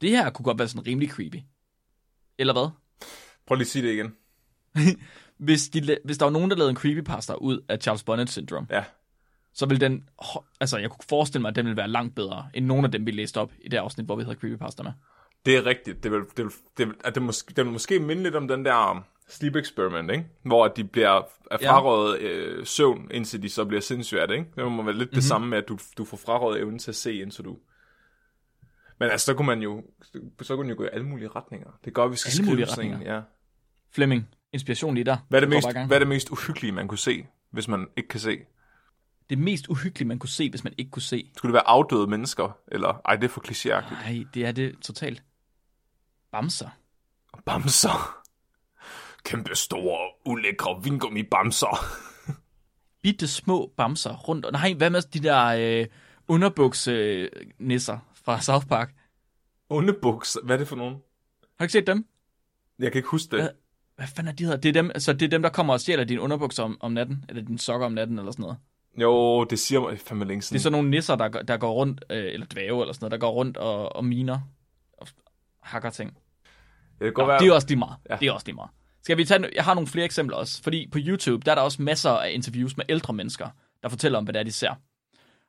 Speaker 1: Det her kunne godt være sådan rimelig creepy. Eller hvad?
Speaker 2: Prøv lige at sige det igen.
Speaker 1: Hvis, de, la- hvis der var nogen, der lavede en creepypasta ud af Charles Bonnet Syndrome,
Speaker 2: Ja.
Speaker 1: så ville den... hå- Altså, jeg kunne forestille mig, at den ville være langt bedre, end nogen af dem, vi læste op i det afsnit, hvor vi havde creepypasta med.
Speaker 2: Det er rigtigt. Det vil, det vil, det vil, at det måske, det vil måske minde lidt om den der um, sleep experiment, ikke? Hvor at de bliver er
Speaker 1: Ja.
Speaker 2: frarøvet øh, søvn, indtil de så bliver sindssyge af det, ikke? Det må være lidt
Speaker 1: Mhm.
Speaker 2: mm-hmm. det samme med, at du, du får frarøvet evnen til at se, indtil du... Men altså, så kunne man jo, så kunne man jo gå i alle mulige retninger. Det gør, at vi skal
Speaker 1: Alle mulige
Speaker 2: skrive sådan en,
Speaker 1: retninger.
Speaker 2: ja.
Speaker 1: Flemming, inspiration lige der.
Speaker 2: Hvad er, det
Speaker 1: Du går
Speaker 2: mest,
Speaker 1: bare i gang.
Speaker 2: hvad er det mest uhyggelige, man kunne se, hvis man ikke kan se?
Speaker 1: det mest uhyggelige, man kunne se, hvis man ikke kunne se.
Speaker 2: Skulle det være afdøde mennesker? Eller, ej, det er for klichéagtigt.
Speaker 1: Nej, det er det totalt. Bamser.
Speaker 2: Bamser. Kæmpe store, ulækre vingummi-bamser.
Speaker 1: Bitte små bamser rundt. og- Nej, hvad med de der øh, underbuksnisser øh, nisser fra South Park?
Speaker 2: Underbukser. Hvad er det for nogen?
Speaker 1: Har du ikke set dem?
Speaker 2: Jeg kan ikke huske det.
Speaker 1: Hvad? Hvad fanden er de hedder? Det er dem, så det er dem, der kommer og stjæler dine underbukser om, om natten, eller dine sokker om natten, eller sådan noget.
Speaker 2: Jo, det siger mig fandme længe
Speaker 1: Det er
Speaker 2: siden.
Speaker 1: sådan nogle nisser, der, går- der går rundt, øh, eller dvæve, eller sådan noget, der går rundt og, og miner og hakker ting.
Speaker 2: Jeg kan godt
Speaker 1: Nå,
Speaker 2: være...
Speaker 1: det er også lige meget.
Speaker 2: Ja.
Speaker 1: Ja. Det er også lige meget. Skal vi tage, no- jeg har nogle flere eksempler også, fordi på YouTube, der er der også masser af interviews med ældre mennesker, der fortæller om, hvad det er, de ser.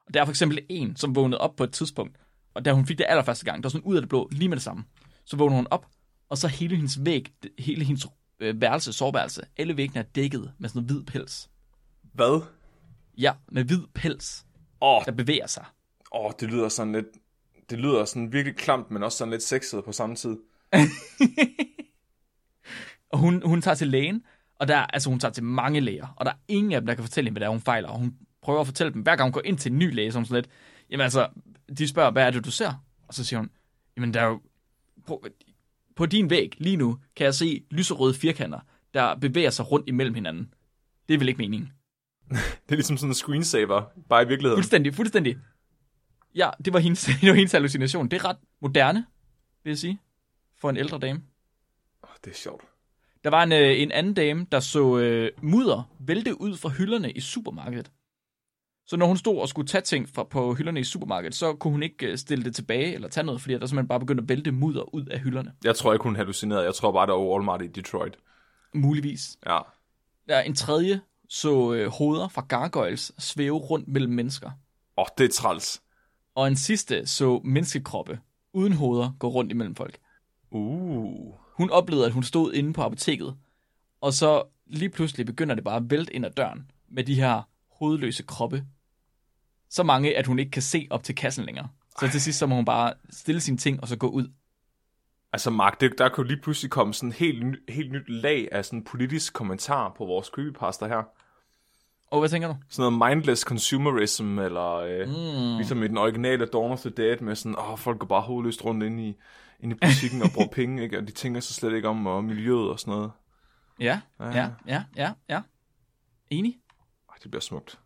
Speaker 1: Og der er for eksempel en, som vågnede op på et tidspunkt, og da hun fik det allerførste gang, der var sådan ud af det blå, lige med det samme, så vågnede hun op, og så hele hendes væg, hele hendes øh, værelse, soveværelse, alle væggene er dækket med sådan noget hvid pels.
Speaker 2: Hvad?
Speaker 1: Ja, med hvid pels,
Speaker 2: Åh,
Speaker 1: der bevæger sig.
Speaker 2: oh, det lyder sådan lidt... Det lyder sådan virkelig klamt, men også sådan lidt sexet på samme tid.
Speaker 1: Og hun, hun tager til lægen, og der, altså hun tager til mange læger, og der er ingen af dem, der kan fortælle hende, hvad det er, hun fejler. Og hun prøver at fortælle dem, hver gang hun går ind til en ny læge, som sådan lidt, jamen altså, de spørger, hvad er det, du ser? Og så siger hun, jamen der er jo, på, på din væg lige nu, kan jeg se lyserøde firkanter, der bevæger sig rundt imellem hinanden. Det er vel ikke meningen.
Speaker 2: Det er ligesom sådan en screensaver, bare i virkeligheden.
Speaker 1: Fuldstændig, fuldstændig. Ja, det var hendes, [LAUGHS] det var hendes hallucination. Det er ret moderne, vil jeg sige, for en ældre dame.
Speaker 2: Åh, det er sjovt.
Speaker 1: Der var en, øh, en anden dame, der så øh, mudder vælte ud fra hylderne i supermarkedet. Så når hun stod og skulle tage ting fra, på hylderne i supermarkedet, så kunne hun ikke øh, stille det tilbage eller tage noget, fordi der simpelthen bare begyndte at vælte mudder ud af hylderne.
Speaker 2: Jeg tror ikke, hun hallucinerede. Jeg tror bare, der var Walmart i Detroit.
Speaker 1: Muligvis.
Speaker 2: Ja.
Speaker 1: Der er en tredje, så øh, hoveder fra gargoyles svæve rundt mellem mennesker.
Speaker 2: Åh, det er træls.
Speaker 1: Og en sidste så menneskekroppe uden hoveder gå rundt imellem folk.
Speaker 2: Uh.
Speaker 1: Hun oplevede, at hun stod inde på apoteket, og så lige pludselig begynder det bare at vælte ind ad døren med de her hovedløse kroppe. Så mange, at hun ikke kan se op til kassen længere. Så til sidst så må hun bare stille sine ting og så gå ud.
Speaker 2: Altså Mark, det, der kunne lige pludselig komme sådan helt, ny- helt nyt lag af sådan politisk kommentar på vores creepypasta her.
Speaker 1: Og hvad tænker du?
Speaker 2: Sådan noget mindless consumerism, eller øh, mm. ligesom i den originale Dawn of the Dead, med sådan, åh, folk går bare hovedløst rundt ind i, ind i butikken og [LAUGHS] bruger penge, ikke? og de tænker så slet ikke om og miljøet og sådan noget.
Speaker 1: Ja,
Speaker 2: Ja.
Speaker 1: ja, ja, ja, ja. Enig?
Speaker 2: Ej, det bliver smukt.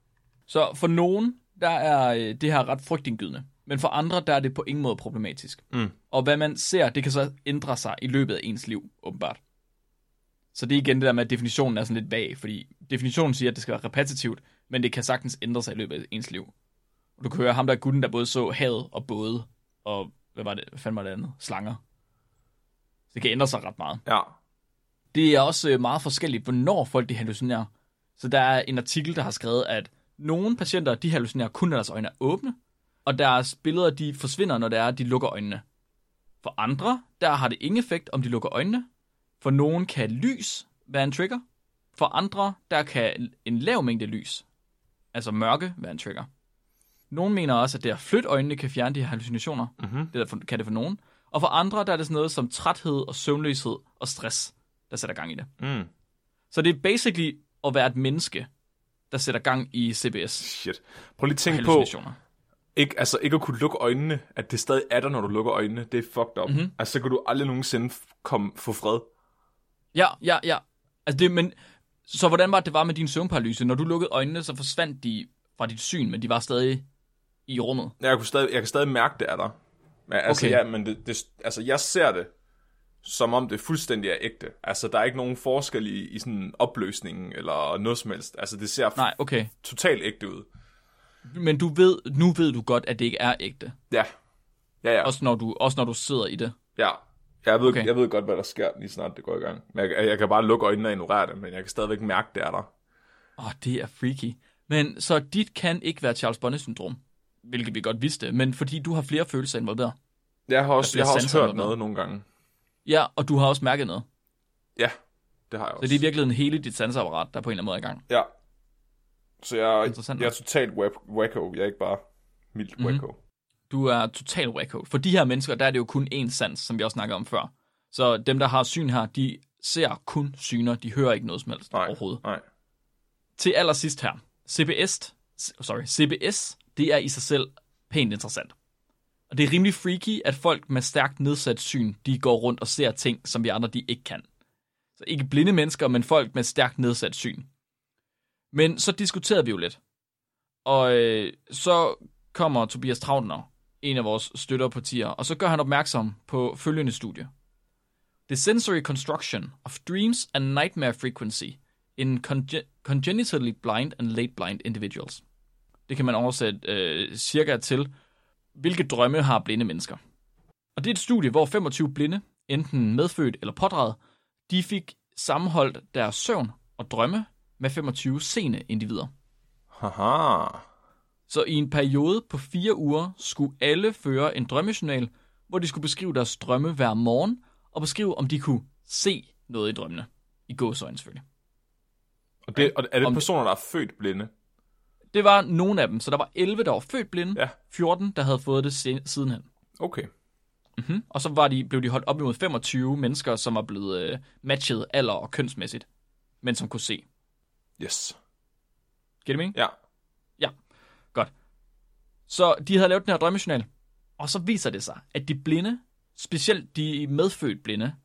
Speaker 1: Så for nogen, der er øh, det her ret frygtindgydende. Men for andre, der er det på ingen måde problematisk.
Speaker 2: Mm.
Speaker 1: Og hvad man ser, det kan så ændre sig i løbet af ens liv, åbenbart. Så det er igen det der med, at definitionen er sådan lidt vag, fordi definitionen siger, at det skal være repetitivt, men det kan sagtens ændre sig i løbet af ens liv. Og du kan høre ham der gutten, der både så havet og både, og hvad var det, hvad fanden var det andet? Slanger. Så det kan ændre sig ret meget.
Speaker 2: Ja.
Speaker 1: Det er også øh, meget forskelligt, hvornår folk de hallucinerer. Så der er en artikel, der har skrevet, at nogle patienter de hallucinerer kun, når deres øjne er åbne, og deres billeder de forsvinder, når det er, at de lukker øjnene. For andre, der har det ingen effekt, om de lukker øjnene. For nogen kan lys være en trigger. For andre, der kan en lav mængde lys, altså mørke, være en trigger. Nogle mener også, at det at flytte øjnene kan fjerne de her hallucinationer.
Speaker 2: Mhm.
Speaker 1: Det er for, kan det for nogen. Og for andre, der er det sådan noget som træthed og søvnløshed og stress, der sætter gang i det.
Speaker 2: Mm.
Speaker 1: Så det er basically at være et menneske, der sætter gang i CBS.
Speaker 2: Shit. Prøv lige at tænke på,
Speaker 1: Hallucinationer.
Speaker 2: ikke, altså, ikke at kunne lukke øjnene, at det stadig er der, når du lukker øjnene, det er fucked up. Mm-hmm. Altså, så kan du aldrig nogensinde f- komme, få fred.
Speaker 1: Ja, ja, ja. Altså det, men, så hvordan var det det var med din søvnparalyse? Når du lukkede øjnene, så forsvandt de fra dit syn, men de var stadig i rummet.
Speaker 2: Jeg, kunne stadig, jeg kan stadig mærke, det er der. Men, altså,
Speaker 1: Okay.
Speaker 2: ja, men det, det, altså, jeg ser det, som om det fuldstændig er ægte. Altså, der er ikke nogen forskel i, i sådan opløsningen eller noget som helst. Altså, det ser
Speaker 1: Nej, okay.
Speaker 2: totalt ægte ud.
Speaker 1: Men du ved, nu ved du godt, at det ikke er ægte.
Speaker 2: Ja, Ja, ja.
Speaker 1: Også når du, også når du sidder i det.
Speaker 2: ja. Jeg, ved, okay.
Speaker 1: Okay.
Speaker 2: jeg ved godt, hvad der sker, lige snart det går i gang. Men jeg, jeg kan bare lukke øjnene og ignorere det, men jeg kan stadigvæk mærke, det er der.
Speaker 1: Åh, oh, det er freaky. Men så dit kan ikke være Charles Bonnet-syndrom, hvilket vi godt vidste, men fordi du har flere følelser involveret.
Speaker 2: Jeg har også,
Speaker 1: bliver
Speaker 2: jeg har også
Speaker 1: sanserne
Speaker 2: hørt
Speaker 1: med.
Speaker 2: noget nogle gange.
Speaker 1: Ja, og du har også mærket noget.
Speaker 2: Ja, det har jeg
Speaker 1: Så
Speaker 2: også.
Speaker 1: det er i virkeligheden hele dit sanseapparat, der på en eller anden måde er i gang.
Speaker 2: Ja. Så jeg,
Speaker 1: Interessant
Speaker 2: jeg er
Speaker 1: nok. Mhm.
Speaker 2: totalt wack- wacko. Jeg er ikke bare mildt mm-hmm. wacko.
Speaker 1: Du er total wacko. For de her mennesker, der er det jo kun én sans, som vi også snakkede om før. Så dem, der har syn her, de ser kun syner. De hører ikke noget som helst
Speaker 2: Nej,
Speaker 1: overhovedet.
Speaker 2: nej.
Speaker 1: Til allersidst her. CBS, sorry, CBS, det er i sig selv pænt interessant. Og det er rimelig freaky, at folk med stærkt nedsat syn, de går rundt og ser ting, som vi andre de ikke kan. Så ikke blinde mennesker, men folk med stærkt nedsat syn. Men så diskuterede vi jo lidt. Og øh, så kommer Tobias Trautner, en af vores støtterpartier, og så gør han opmærksom på følgende studie. The sensory construction of dreams and nightmare frequency in conge- congenitally blind and late blind individuals. Det kan man oversætte øh, cirka til, hvilke drømme har blinde mennesker. Og det er et studie, hvor 25 blinde, enten medfødt eller pådraget, de fik sammenholdt deres søvn og drømme med 25 seende individer.
Speaker 2: Haha.
Speaker 1: Så i en periode på fire uger skulle alle føre en drømmejournal, hvor de skulle beskrive deres drømme hver morgen, og beskrive, om de kunne se noget i drømmene. I gåsøjne selvfølgelig.
Speaker 2: Og, det, og er det
Speaker 1: Om-
Speaker 2: personer, der er født blinde?
Speaker 1: Det var nogle af dem, så der var 11, der var født blinde,
Speaker 2: Ja.
Speaker 1: 14, der havde fået det se- sidenhen.
Speaker 2: Okay.
Speaker 1: Mm-hmm. Og så var de, blev de holdt op imod 25 mennesker, som var blevet øh, matchet alder og kønsmæssigt, men som kunne se.
Speaker 2: Yes.
Speaker 1: Giver det mening?
Speaker 2: Ja.
Speaker 1: Så de havde lavet den her drømmejournal, og så viser det sig, at de blinde, specielt de medfødt blinde,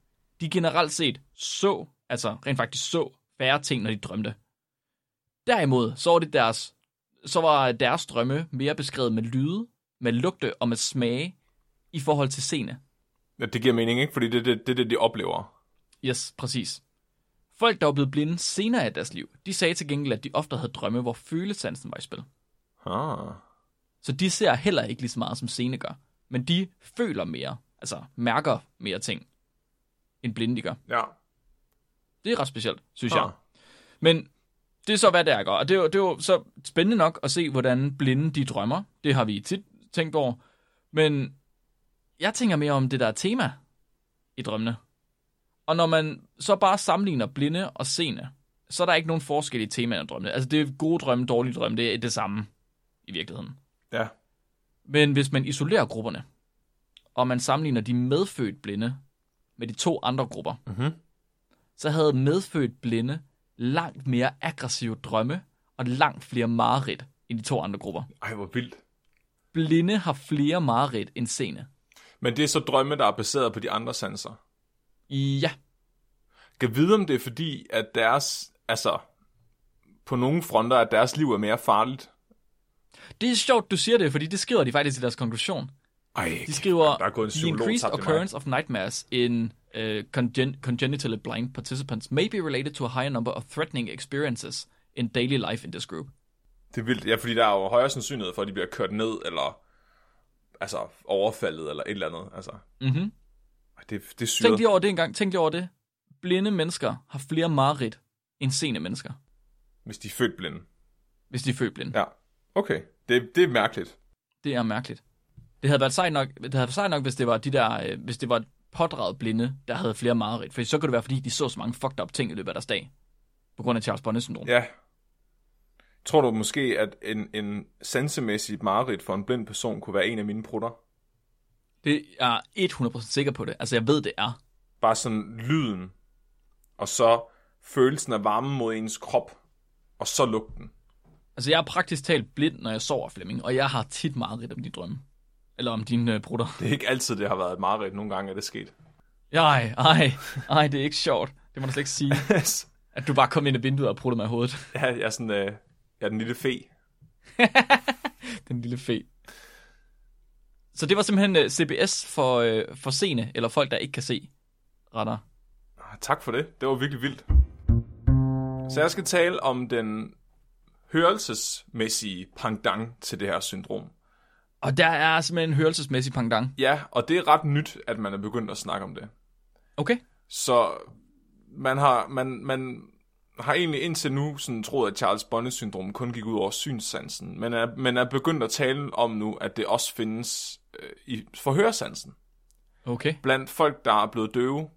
Speaker 1: de generelt set så, altså rent faktisk så, færre ting, når de drømte. Derimod, så var, det deres, så var deres drømme mere beskrevet med lyde, med lugte og med smage i forhold til scene.
Speaker 2: ja. Det giver mening, ikke? Fordi det er det, det, det, de oplever.
Speaker 1: Yes, præcis. Folk, der var blevet blinde senere i deres liv, de sagde til gengæld, at de ofte havde drømme, hvor følesansen var i spil.
Speaker 2: Ah.
Speaker 1: Så de ser heller ikke lige så meget, som sene gør. Men de føler mere, altså mærker mere ting, end blinde de gør.
Speaker 2: Ja.
Speaker 1: Det er ret specielt, synes
Speaker 2: Ah.
Speaker 1: jeg. Men det er så, hvad det er, jeg gør. Og det er, jo, det er jo så spændende nok at se, hvordan blinde de drømmer. Det har vi tit tænkt over. Men jeg tænker mere om det der tema i drømmene. Og når man så bare sammenligner blinde og seende, så er der ikke nogen forskel i temaerne i drømmene. Altså det er gode drømme, dårlige drømme, det er det samme i virkeligheden.
Speaker 2: Ja.
Speaker 1: Men hvis man isolerer grupperne, og man sammenligner de medfødt blinde med de to andre grupper,
Speaker 2: Mhm.
Speaker 1: så havde medfødt blinde langt mere aggressive drømme og langt flere mareridt end de to andre grupper.
Speaker 2: Ej, hvor vildt.
Speaker 1: Blinde har flere mareridt end seende.
Speaker 2: Men det er så drømme, der er baseret på de andre sanser.
Speaker 1: Ja,
Speaker 2: Kan vide, om det er fordi, at deres... Altså, på nogle fronter, at deres liv er mere farligt.
Speaker 1: det er sjovt, du siger det, fordi det skriver de faktisk i deres konklusion.
Speaker 2: Ej,
Speaker 1: De skriver,
Speaker 2: der er gået en
Speaker 1: the
Speaker 2: psykolog
Speaker 1: increased
Speaker 2: tabt i mig."
Speaker 1: occurrence of nightmares in uh, congen- congenitally blind participants may be related to a higher number of threatening experiences in daily life in this group.
Speaker 2: Det er vildt, ja, fordi der er jo højere sandsynlighed for, at de bliver kørt ned, eller altså overfaldet, eller et eller andet. Altså,
Speaker 1: Mm-hmm.
Speaker 2: Ej, det, det er
Speaker 1: Tænk
Speaker 2: syret.
Speaker 1: lige over det engang. Tænk lige over det. Blinde mennesker har flere mareridt end seende mennesker,
Speaker 2: Hvis de er født blinde.
Speaker 1: hvis de er født blinde. Ja.
Speaker 2: Ja, okay. Det, det er mærkeligt.
Speaker 1: Det er mærkeligt. Det havde været sejt nok, det havde været sejt nok hvis det var de der, øh, hvis det var pådraget blinde, der havde flere mareridt. For så kunne det være, fordi de så så mange fucked up ting i løbet af deres dag. På grund af Charles Bonnet syndrom. Ja.
Speaker 2: Ja. Tror du måske, at en, en sansemæssig mareridt for en blind person kunne være en af mine prutter?
Speaker 1: Det er jeg 100% sikker på det. Altså, jeg ved, det er.
Speaker 2: Bare sådan lyden, og så følelsen af varmen mod ens krop, og så lugten.
Speaker 1: Altså, jeg er praktisk talt blind, når jeg sover, Flemming, og jeg har tit mareridt om de drømme. Eller om dine øh, brutter.
Speaker 2: Det er ikke altid, det har været et mareridt. Nogle gange er det sket.
Speaker 1: Ej, ej, ej, det er ikke sjovt. Det må du slet ikke sige,
Speaker 2: ja,
Speaker 1: at du bare kom ind i vinduet og pruttede mig i hovedet.
Speaker 2: jeg er sådan, øh, jeg er den lille fe.
Speaker 1: [LAUGHS] Den lille fe. Så det var simpelthen øh, CBS for, øh, for seende, eller folk, der ikke kan se, retter.
Speaker 2: Ah, Tak for det. Det var virkelig vildt. Så jeg skal tale om den hørelsesmæssige pendant til det her syndrom.
Speaker 1: Og der er simpelthen en hørelsesmæssig pangdang.
Speaker 2: Ja, og det er ret nyt, at man er begyndt at snakke om det.
Speaker 1: Okay.
Speaker 2: Så man har, man, man har egentlig indtil nu sådan troet, at Charles Bonnet-syndrom kun gik ud over synssansen, men er, men er begyndt at tale om nu, at det også findes øh, i forhørsansen.
Speaker 1: Okay.
Speaker 2: Blandt folk, der er blevet døve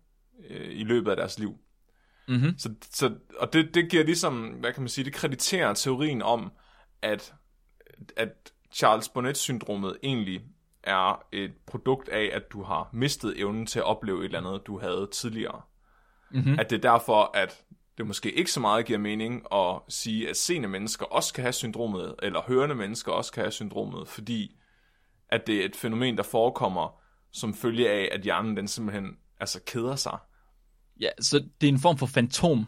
Speaker 2: øh, i løbet af deres liv.
Speaker 1: Mhm.
Speaker 2: Så, så, og det, det giver ligesom, hvad kan man sige, det krediterer teorien om, at, at Charles Bonnet-syndromet egentlig er et produkt af, at du har mistet evnen til at opleve et eller andet, du havde tidligere.
Speaker 1: Mhm.
Speaker 2: At det er derfor, at det måske ikke så meget giver mening at sige, at seende mennesker også kan have syndromet, eller hørende mennesker også kan have syndromet, fordi at det er et fænomen, der forekommer som følge af, at hjernen den simpelthen altså keder sig.
Speaker 1: Ja, så det er en form for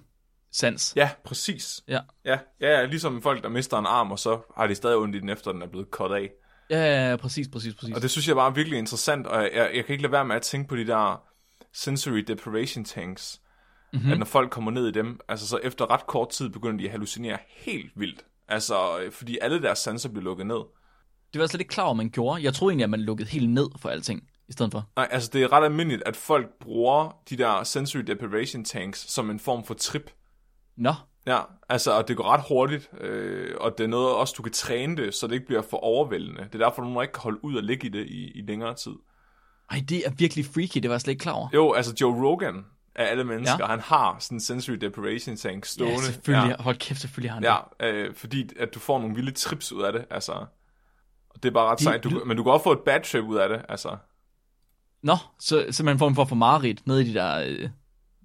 Speaker 1: fantomsans.
Speaker 2: Ja, præcis.
Speaker 1: Ja.
Speaker 2: Ja, ja, ja, ligesom folk, der mister en arm, og så har de stadig ondt i den, efter den er blevet kort af.
Speaker 1: Ja, ja, ja, præcis, præcis, præcis.
Speaker 2: Og det synes jeg bare er virkelig interessant, og jeg, jeg, jeg kan ikke lade være med at tænke på de der sensory deprivation tanks.
Speaker 1: Mhm.
Speaker 2: Mm-hmm. At når folk kommer ned i dem, altså så efter ret kort tid begynder de at hallucinere helt vildt. Altså, øh, fordi alle deres sanser bliver lukket ned.
Speaker 1: Det var jeg slet ikke klar over, man gjorde. Jeg troede egentlig, at man lukkede helt ned for alting, i stedet for.
Speaker 2: Nej, altså det er ret almindeligt, at folk bruger de der sensory deprivation tanks som en form for trip.
Speaker 1: Nå,
Speaker 2: Ja, altså, og det går ret hurtigt, øh, og det er noget også, du kan træne det, så det ikke bliver for overvældende. Det er derfor, nogen ikke kan holde ud og ligge i det i, i længere tid.
Speaker 1: ej, det er virkelig freaky, det var jeg slet ikke klar over.
Speaker 2: Jo, altså Joe Rogan af alle mennesker, ja.
Speaker 1: Ja.
Speaker 2: han har sådan en sensory deprivation tank stående.
Speaker 1: Ja, selvfølgelig. Ja. Hold kæft, selvfølgelig har han
Speaker 2: Ja,
Speaker 1: det.
Speaker 2: ja øh, fordi at du får nogle vilde trips ud af det, altså. Og det er bare ret
Speaker 1: Det
Speaker 2: sejt. Du,
Speaker 1: lyder-
Speaker 2: men du kan også få et bad trip ud af det, altså.
Speaker 1: Nå, så simpelthen en form for at få mareridt ned i de der, øh,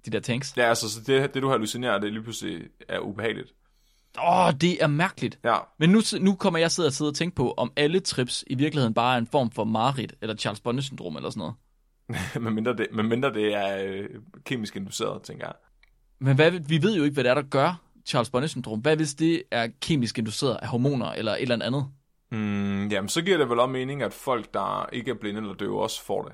Speaker 1: de der tanks.
Speaker 2: Ja, altså, så det, det du hallucinerer, det lige pludselig er ubehageligt.
Speaker 1: Åh, oh, det er mærkeligt.
Speaker 2: Ja, [LAUGHS]
Speaker 1: Men nu, nu kommer jeg sidde og sidde og tænke på, om alle trips i virkeligheden bare er en form for mareridt, eller Charles Bonnet-syndrom eller sådan noget.
Speaker 2: medmindre det, medmindre det er øh, kemisk induceret, tænker jeg.
Speaker 1: Men hvad, vi ved jo ikke, hvad det er, der gør Charles Bonnet-syndrom. Hvad hvis det er kemisk induceret af hormoner eller et eller andet?
Speaker 2: Mm, jamen, så giver det vel også mening, at folk, der ikke er blinde eller døve, også får det.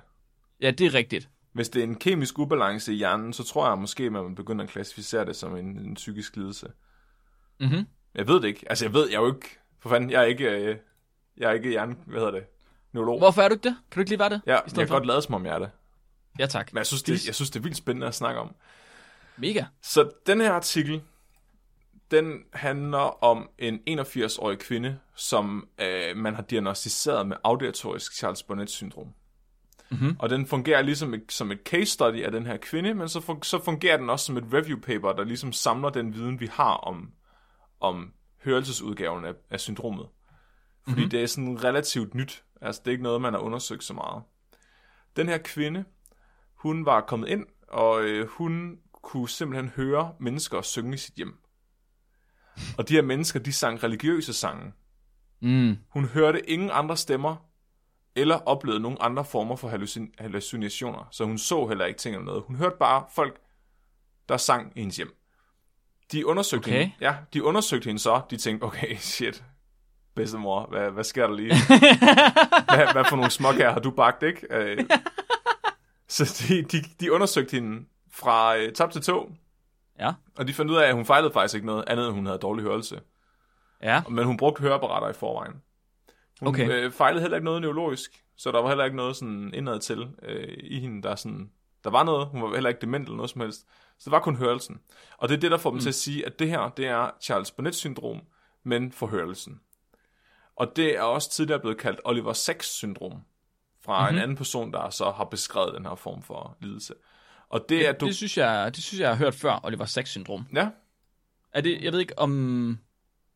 Speaker 1: Ja, det er rigtigt.
Speaker 2: Hvis det er en kemisk ubalance i hjernen, så tror jeg måske, man vil begynde at klassificere det som en, en psykisk lidelse.
Speaker 1: Mhm.
Speaker 2: Jeg ved det ikke. Altså, jeg ved, jeg er jo ikke... For fanden, jeg er ikke... Øh, jeg er ikke hjerne... Hvad hedder det? Neurolog.
Speaker 1: Hvorfor er du ikke det? Kan du ikke lige være det?
Speaker 2: Ja,
Speaker 1: i
Speaker 2: jeg kan
Speaker 1: stedet for?
Speaker 2: godt lade som om jeg er det.
Speaker 1: Ja, tak.
Speaker 2: Men jeg synes det, jeg synes, det er vildt spændende at snakke om.
Speaker 1: Mega.
Speaker 2: Så den her artikel, den handler om en 81-årig kvinde, som øh, man har diagnostiseret med auditorisk Charles Bonnet-syndrom. Mm-hmm. Og den fungerer ligesom et, som et case study af den her kvinde, men så, fun- så fungerer den også som et review paper, der ligesom samler den viden, vi har om, om hørelsesudgaven af, af syndromet. Fordi mm-hmm. det er sådan relativt nyt. Altså, det er ikke noget, man har undersøgt så meget. Den her kvinde, hun var kommet ind, og øh, hun kunne simpelthen høre mennesker synge i sit hjem. Og de her mennesker, de sang religiøse sange.
Speaker 1: Mm.
Speaker 2: Hun hørte ingen andre stemmer, eller oplevede nogen andre former for hallucin- hallucinationer, så hun så heller ikke ting eller noget. Hun hørte bare folk, der sang i hendes hjem. De undersøgte,
Speaker 1: Okay.
Speaker 2: hende, ja, de undersøgte hende så, de tænkte, okay, shit, bedstemor, hvad, hvad
Speaker 1: [LAUGHS]
Speaker 2: sker der lige? hvad, hvad for nogle småkager har du bagt, ikke?
Speaker 1: [LAUGHS]
Speaker 2: Øh, så de, de, de undersøgte hende fra øh, top til tå,
Speaker 1: Ja.
Speaker 2: og de fandt ud af, at hun fejlede faktisk ikke noget andet, end hun havde dårlig hørelse.
Speaker 1: Ja.
Speaker 2: Men hun brugte høreapparater i forvejen. Hun
Speaker 1: Okay.
Speaker 2: øh, fejlede heller ikke noget neurologisk, så der var heller ikke noget sådan indad til øh, i hende, der sådan... Der var noget, hun var heller ikke dement eller noget som helst. Så det var kun hørelsen. Og det er det, der får dem mm. til at sige, at det her, det er Charles Bonnet-syndrom, men for hørelsen. Og det er også tidligere blevet kaldt Oliver Sacks-syndrom, fra
Speaker 1: Mhm.
Speaker 2: mm-hmm. en anden person, der så har beskrevet den her form for lidelse. Og det er du...
Speaker 1: Det synes jeg, det synes jeg, jeg har hørt før, Oliver Sacks-syndrom.
Speaker 2: Ja,
Speaker 1: Er det, jeg ved ikke, om,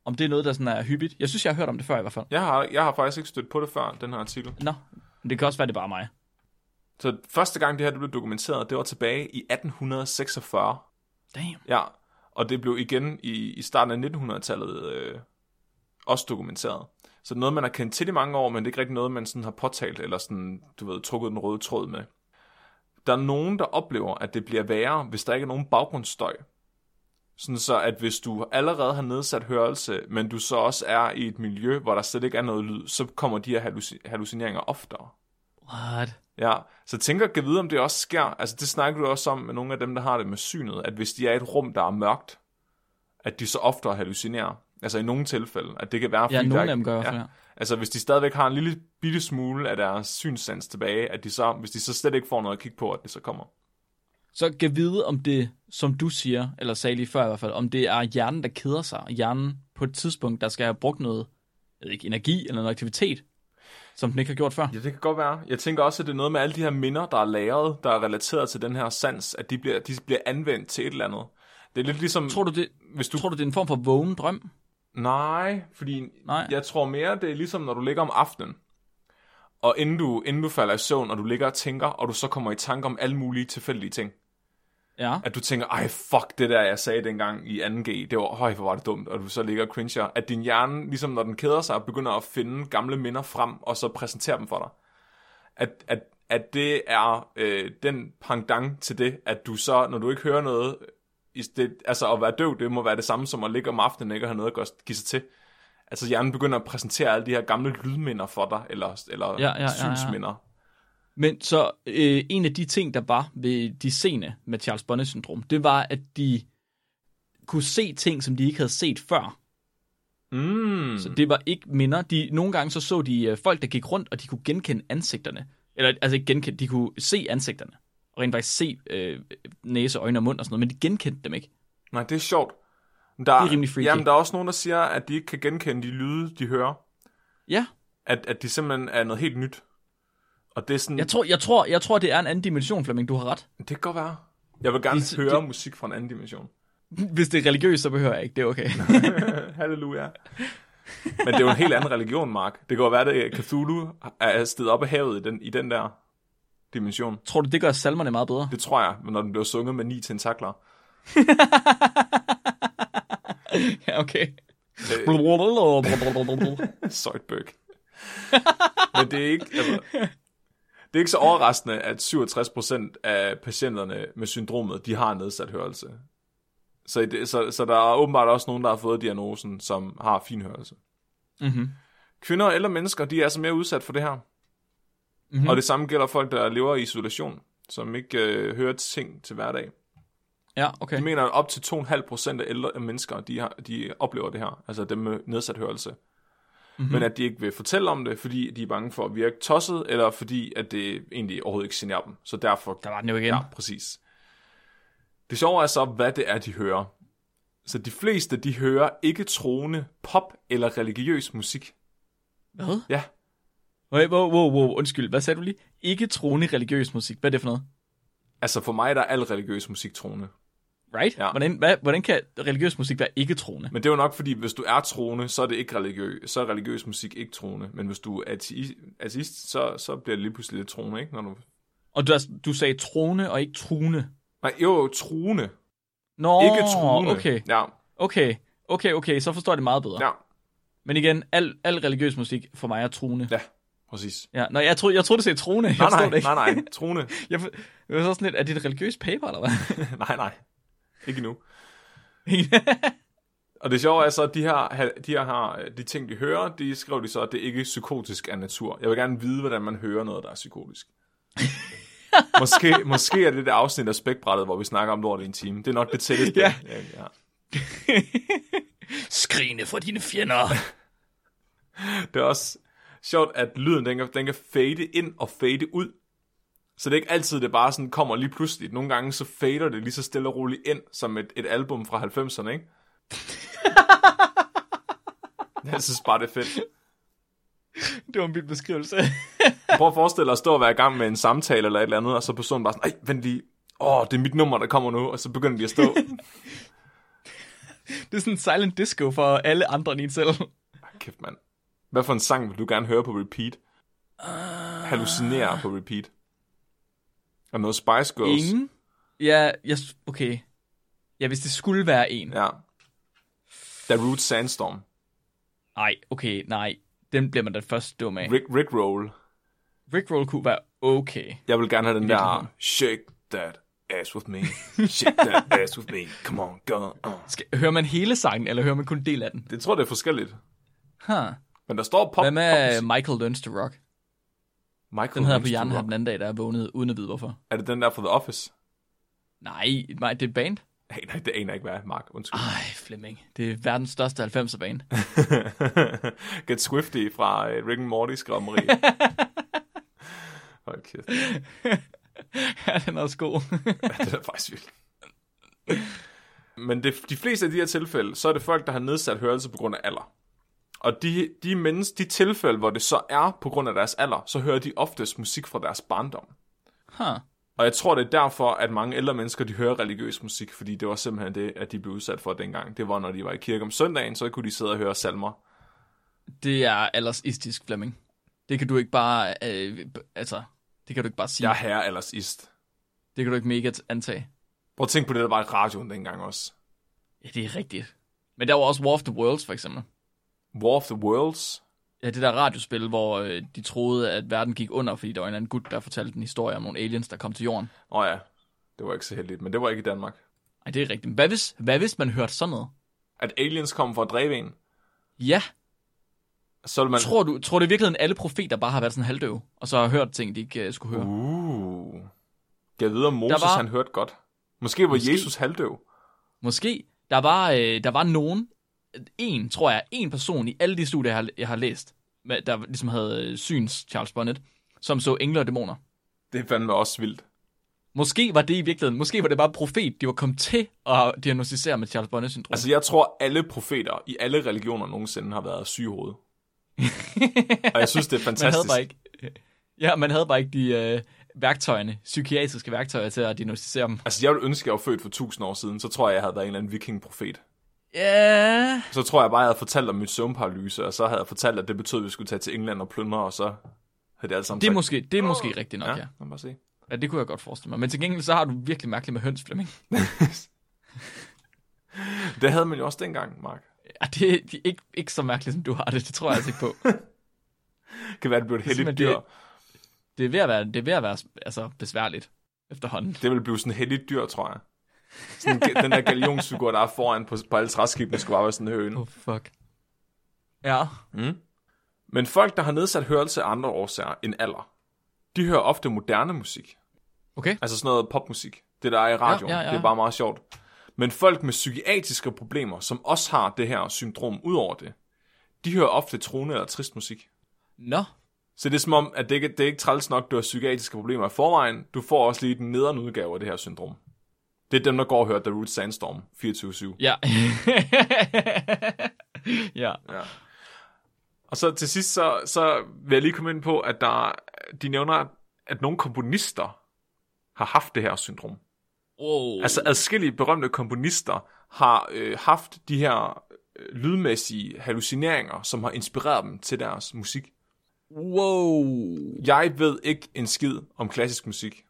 Speaker 1: om det er noget, der sådan er hyppigt. Jeg synes, jeg har hørt om det før i hvert fald.
Speaker 2: jeg har, jeg har faktisk ikke stødt på det før, den her artikel.
Speaker 1: Nå, men det kan også være, det er bare mig.
Speaker 2: Så første gang det her det blev dokumenteret, det var tilbage i 1846.
Speaker 1: Damn.
Speaker 2: Ja, og det blev igen i, i starten af 1900-tallet øh, også dokumenteret. Så det er noget, man har kendt til i mange år, men det er ikke rigtig noget, man sådan har påtalt eller sådan, du ved, trukket den røde tråd med. Der er nogen, der oplever, at det bliver værre, hvis der ikke er nogen baggrundsstøj. Sådan så, at hvis du allerede har nedsat hørelse, men du så også er i et miljø, hvor der slet ikke er noget lyd, så kommer de her halluci- hallucineringer oftere.
Speaker 1: What?
Speaker 2: Ja, så tænker jeg vide, om det også sker. Altså det snakker du også om med nogle af dem, der har det med synet, at hvis de er i et rum, der er mørkt, at de så oftere hallucinerer. Altså i nogle tilfælde, at det kan være,
Speaker 1: Ja,
Speaker 2: der
Speaker 1: nogle af
Speaker 2: ikke-
Speaker 1: dem gør i hvert fald,
Speaker 2: ja,
Speaker 1: ja.
Speaker 2: altså hvis de stadigvæk har en lille bitte smule af deres synssans tilbage, at de så, hvis de så slet ikke får noget at kigge på, at det så kommer.
Speaker 1: Så kan vide, om det, som du siger, eller sagde lige før i hvert fald, om det er hjernen, der keder sig, og hjernen på et tidspunkt, der skal have brugt noget, jeg ved ikke, energi eller noget aktivitet, som den ikke har gjort før.
Speaker 2: Ja, det kan godt være. Jeg tænker også, at det er noget med alle de her minder, der er lagret, der er relateret til den her sans, at de bliver, de bliver anvendt til et eller andet. Det er lidt ligesom...
Speaker 1: Tror du, det,
Speaker 2: hvis du...
Speaker 1: tror du, det er en form for vågen drøm?
Speaker 2: Nej, fordi
Speaker 1: Nej.
Speaker 2: jeg tror mere, det er ligesom, når du ligger om aftenen, og inden du, inden du falder i søvn, og du ligger og tænker, og du så kommer i tanke om alle mulige tilfældige ting.
Speaker 1: Ja.
Speaker 2: At du tænker, ej fuck, det der jeg sagde dengang i 2G, det var, høj hvor var det dumt, og du så ligger og cringer. At din hjerne, ligesom når den keder sig, begynder at finde gamle minder frem, og så præsentere dem for dig. At, at, at det er øh, den pangdang til det, at du så, når du ikke hører noget, i det, altså at være døv, det må være det samme som at ligge om aftenen, ikke at have noget at gøre- give sig til. Altså hjernen begynder at præsentere alle de her gamle lydminder for dig, eller, eller
Speaker 1: ja, ja, ja.
Speaker 2: synsminder.
Speaker 1: Men så øh, en af de ting, der var ved de sene med Charles Bonnet-syndrom, det var, at de kunne se ting, som de ikke havde set før.
Speaker 2: Mm.
Speaker 1: Så det var ikke minder. De, nogle gange så, så de øh, folk, der gik rundt, og de kunne genkende ansigterne. Eller altså ikke genkende, de kunne se ansigterne. Og rent faktisk se øh, næse, øjne og mund og sådan noget, men de genkendte dem ikke.
Speaker 2: Nej, det er sjovt. Der, det
Speaker 1: er rimelig freaky.
Speaker 2: Jamen, der er også nogen, der siger, at de ikke kan genkende de lyde, de hører.
Speaker 1: Ja,
Speaker 2: At, at de simpelthen er noget helt nyt. Og det er sådan,
Speaker 1: jeg tror, jeg, tror, jeg tror, det er en anden dimension, Flemming, du har ret. [LAUGHS]
Speaker 2: det kan godt være. Jeg vil gerne
Speaker 1: Det-
Speaker 2: det, høre det, musik fra en anden dimension. [LAUGHS]
Speaker 1: Hvis det er religiøst, så behøver jeg ikke, det er okay.
Speaker 2: Halleluja. Men det er jo en helt anden religion, Mark. Det kan jo være, at Cthulhu er stedet op af havet i den, i den der dimension.
Speaker 1: tror du, det gør salmerne meget
Speaker 2: [LAUGHS]
Speaker 1: bedre?
Speaker 2: Det tror jeg, når den bliver sunget med ni tentakler.
Speaker 1: ja, [LAUGHS] okay.
Speaker 2: Øh,
Speaker 1: Mhm.
Speaker 2: Zoidberg. Men det er ikke, altså, det er ikke så overraskende, at 67% af patienterne med syndromet, de har nedsat hørelse. Så, i det, så, så der er åbenbart også nogen, der har fået diagnosen, som har fin hørelse.
Speaker 1: Mhm.
Speaker 2: Kvinder eller mennesker, de er altså mere udsat for det her.
Speaker 1: Mhm.
Speaker 2: Og det samme gælder folk, der lever i isolation, som ikke øh, hører ting til hverdag.
Speaker 1: Ja, okay.
Speaker 2: Jeg mener, at op til 2,5% af ældre mennesker, de, har, de oplever det her, altså dem med nedsat hørelse. Mm-hmm. Men at de ikke vil fortælle om det, fordi de er bange for at virke tosset, eller fordi at det egentlig overhovedet ikke generer dem. Så derfor...
Speaker 1: Der var den jo igen.
Speaker 2: Ja, præcis. Det sjove er så, hvad det er, de hører. Så de fleste, de hører ikke troende pop eller religiøs musik.
Speaker 1: Hvad?
Speaker 2: Ja,
Speaker 1: Okay, wow, wow, wow, undskyld. Hvad sagde du lige? Ikke troende religiøs musik. Hvad er det for noget?
Speaker 2: altså for mig der er al religiøs musik troende.
Speaker 1: Right?
Speaker 2: Ja.
Speaker 1: Hvordan, hvad, hvordan kan religiøs musik være ikke troende?
Speaker 2: Men det er jo nok, fordi hvis du er troende, så er det ikke religiø så er religiøs musik ikke troende. Men hvis du er ati- ateist, så, så bliver det lige pludselig lidt troende, ikke? Når du...
Speaker 1: Og du, er- du sagde troende og ikke truende.
Speaker 2: Nej, jo, troende.
Speaker 1: Nå,
Speaker 2: ikke troende.
Speaker 1: Okay,
Speaker 2: Ja,
Speaker 1: okay, okay, okay, så forstår jeg det meget bedre.
Speaker 2: ja,
Speaker 1: Men igen, al, al religiøs musik for mig er troende.
Speaker 2: ja, præcis.
Speaker 1: Ja, Nå, jeg, troede, jeg troede, du sagde troende. Jeg
Speaker 2: Nej,
Speaker 1: forstod
Speaker 2: nej,
Speaker 1: det ikke.
Speaker 2: nej, nej, troende.
Speaker 1: [LAUGHS] Jeg, for- jeg var så sådan lidt, er det et religiøst paper, eller hvad?
Speaker 2: [LAUGHS] nej, nej, ikke nu. Og det sjove er så, at de her, de her har, de ting, de hører, de skriver de så, at det ikke er psykotisk af natur. Jeg vil gerne vide, hvordan man hører noget, der er
Speaker 1: [LAUGHS]
Speaker 2: psykotisk. måske, måske er det det afsnit af spækbrættet, hvor vi snakker om lort i en time. Det er nok det tætteste.
Speaker 1: Ja.
Speaker 2: Ja, ja.
Speaker 1: Skrigende for dine fjender.
Speaker 2: Det er også sjovt, at lyden den kan, den kan fade ind og fade ud. Så det er ikke altid, det bare sådan kommer lige pludselig. Nogle gange så fader det lige så stille og roligt ind, som et, et album fra 90'erne, ikke? Jeg synes bare, det er fedt.
Speaker 1: [LAUGHS] Det var min beskrivelse. [LAUGHS]
Speaker 2: Prøv at forestille dig at stå og være i gang med en samtale eller et eller andet, og så personen bare sådan, ej, vent lige, åh, det er mit nummer, der kommer nu, og så begynder de at stå.
Speaker 1: Det er sådan en silent disco for alle andre end en selv.
Speaker 2: Ej, Kæft, mand. Hvad for en sang vil du gerne høre på repeat? Hallucinere på repeat. Og noget Spice Girls.
Speaker 1: Ingen? Ja, jeg, okay. Ja, hvis det skulle være en.
Speaker 2: Ja. Der er Root Sandstorm.
Speaker 1: Nej, okay, nej. Den bliver man da først dum af.
Speaker 2: Rick, Rick Roll.
Speaker 1: Rickroll kunne være okay.
Speaker 2: Jeg vil gerne have den der, shake that ass with me. Shake
Speaker 1: [LAUGHS]
Speaker 2: that ass with me. Come on, go on.
Speaker 1: Skal, hører man hele sangen, eller hører man kun en del af den?
Speaker 2: Det tror jeg, det er forskelligt.
Speaker 1: Huh.
Speaker 2: Men der står pop.
Speaker 1: Hvad med øh,
Speaker 2: pop-
Speaker 1: Michael Learns to Rock?
Speaker 2: Michael
Speaker 1: Den havde jeg på
Speaker 2: Lynch,
Speaker 1: hjernen
Speaker 2: du
Speaker 1: her
Speaker 2: rock.
Speaker 1: den anden dag, da jeg vågnede, uden at vide hvorfor.
Speaker 2: Er det den der fra The Office?
Speaker 1: Nej, nej det er et band.
Speaker 2: Aner, det aner jeg ikke, hvad er. Mark.
Speaker 1: [LAUGHS]
Speaker 2: Undskyld.
Speaker 1: Ej, Flemming. Det er verdens største 90'er-bane.
Speaker 2: Get Swifty fra øh, Rick and Morty
Speaker 1: [LAUGHS]
Speaker 2: skrammeri. Hold kæft.
Speaker 1: [LAUGHS] ja, den er også god.
Speaker 2: Ja, [LAUGHS] det er faktisk vildt. Men det, de fleste af de her tilfælde, så er det folk, der har nedsat hørelse på grund af alder. Og de, de, menneske, de tilfælde, hvor det så er på grund af deres alder, så hører de oftest musik fra deres barndom.
Speaker 1: [LAUGHS] huh.
Speaker 2: Og jeg tror, det er derfor, at mange ældre mennesker, de hører religiøs musik, fordi det var simpelthen det, at de blev udsat for dengang. Det var, når de var i kirke om søndagen, så kunne de sidde og høre salmer.
Speaker 1: Det er aldersistisk, Flemming. Det kan du ikke bare... Øh, b- altså, det kan du ikke bare sige.
Speaker 2: Jeg er
Speaker 1: Ja.
Speaker 2: herre ellers ist.
Speaker 1: Det kan du ikke mega t- antage.
Speaker 2: Prøv at tænke på det, der var i radioen dengang også.
Speaker 1: Ja, det er rigtigt. Men der var også War of the Worlds, for eksempel.
Speaker 2: War of the Worlds.
Speaker 1: Ja, det der radiospil, hvor øh, de troede, at verden gik under, fordi der var en eller anden gut, der fortalte en historie om nogle aliens, der kom til jorden.
Speaker 2: Åh oh ja, det var ikke så heldigt, men det var ikke i Danmark.
Speaker 1: Ej, det er rigtigt. Men Hvad hvis, hvad hvis man hørte sådan noget?
Speaker 2: At aliens kom for at dræbe en,
Speaker 1: Ja,
Speaker 2: så ville man...
Speaker 1: tror du, tror du i virkeligheden, alle profeter bare har været sådan halvdøve, og så har hørt ting, de ikke øh, skulle høre?
Speaker 2: Uh. Jeg ved, om Moses
Speaker 1: var-
Speaker 2: var... han hørte godt. Måske var Måske... Jesus halvdøv.
Speaker 1: Måske. Der var, øh, der var nogen, en, tror jeg, en person i alle de studier, jeg har, jeg har læst, med- der ligesom havde øh, syns Charles Bonnet, som så engler og dæmoner.
Speaker 2: Det er fandme også vildt.
Speaker 1: Måske var det i virkeligheden, måske var det bare profet, de var kommet til at diagnostisere med Charles Bonnet-syndrom. Altså,
Speaker 2: Altså, jeg tror, alle profeter i alle religioner nogensinde har været sygehoved.
Speaker 1: [LAUGHS]
Speaker 2: Og jeg synes, det er
Speaker 1: man havde
Speaker 2: fantastisk.
Speaker 1: bare ikke, [LAUGHS] ja, man havde bare ikke de øh, værktøjerne, psykiatriske værktøjer til at diagnostisere dem.
Speaker 2: Altså, jeg ville ønske, at jeg var født for tusind år siden, så tror jeg, jeg havde været en eller anden vikingprofet.
Speaker 1: Ja,
Speaker 2: Så tror jeg bare, jeg havde fortalt om mit søvnparalyse, og så havde jeg fortalt, at det betød, at vi skulle tage til England og plyndre, og så havde det alle sammen
Speaker 1: det er
Speaker 2: sagt-
Speaker 1: måske, det er måske rigtigt nok, ja.
Speaker 2: Ja, lad mig bare se.
Speaker 1: ja. det kunne jeg godt forestille mig. Men til gengæld, så har du virkelig mærkeligt med høns, Flemming.
Speaker 2: Det havde man jo også dengang, Mark.
Speaker 1: Ja, det, det er ikke, ikke så mærkeligt, som du har det. Det tror jeg altså
Speaker 2: [LAUGHS]
Speaker 1: ikke på.
Speaker 2: Kan være, det blev et heldigt
Speaker 1: simpelthen
Speaker 2: dyr.
Speaker 1: det- Det er ved at være, det er ved at være altså, besværligt efterhånden.
Speaker 2: Det ville blive sådan et heldigt dyr, tror jeg. Sådan, den der galionsfigur, der er foran på, på alle træskibene, skulle bare være sådan en høne.
Speaker 1: Oh, fuck. Ja.
Speaker 2: Mm. Men folk, der har nedsat hørelse af andre årsager end alder, de hører ofte moderne musik.
Speaker 1: Okay.
Speaker 2: Altså sådan noget popmusik. Det, der er i radioen.
Speaker 1: ja, ja.
Speaker 2: Det er bare meget sjovt. Men folk med psykiatriske problemer, som også har det her syndrom ud over det, de hører ofte troende eller trist musik.
Speaker 1: Nå.
Speaker 2: Så det er som om, at det, ikke, det er ikke træls nok, du har psykiatriske problemer i forvejen. Du får også lige den nederen udgave af det her syndrom. Det er dem, der går og hører The Root Sandstorm 24-7.
Speaker 1: Ja. [LAUGHS] ja.
Speaker 2: Og så til sidst, så, så vil jeg lige komme ind på, at der, de nævner, at nogle komponister har haft det her syndrom.
Speaker 1: Wow.
Speaker 2: Altså adskillige berømte komponister har øh, haft de her øh, lydmæssige hallucineringer, som har inspireret dem til deres musik.
Speaker 1: wow.
Speaker 2: Jeg ved ikke en skid om klassisk musik,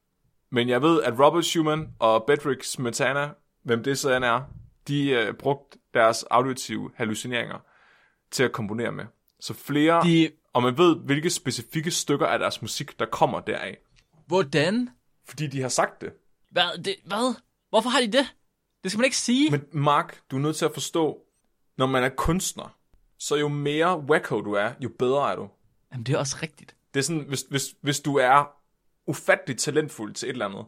Speaker 2: men jeg ved, at Robert Schumann og Bedrick Smetana, hvem det så end er, de øh, brugte deres auditive hallucineringer til at komponere med. Så flere...
Speaker 1: De,
Speaker 2: Og man ved, hvilke specifikke stykker af deres musik, der kommer deraf.
Speaker 1: hvordan?
Speaker 2: Fordi de har sagt det.
Speaker 1: Hvad? Det, hvad? Hvorfor har de det? Det skal man ikke sige. Men...
Speaker 2: Men Mark, du er nødt til at forstå, når man er kunstner, så jo mere wacko du er, jo bedre er du.
Speaker 1: Jamen, det er også rigtigt.
Speaker 2: Det er sådan, hvis, hvis, hvis du er ufatteligt talentfuld til et eller andet,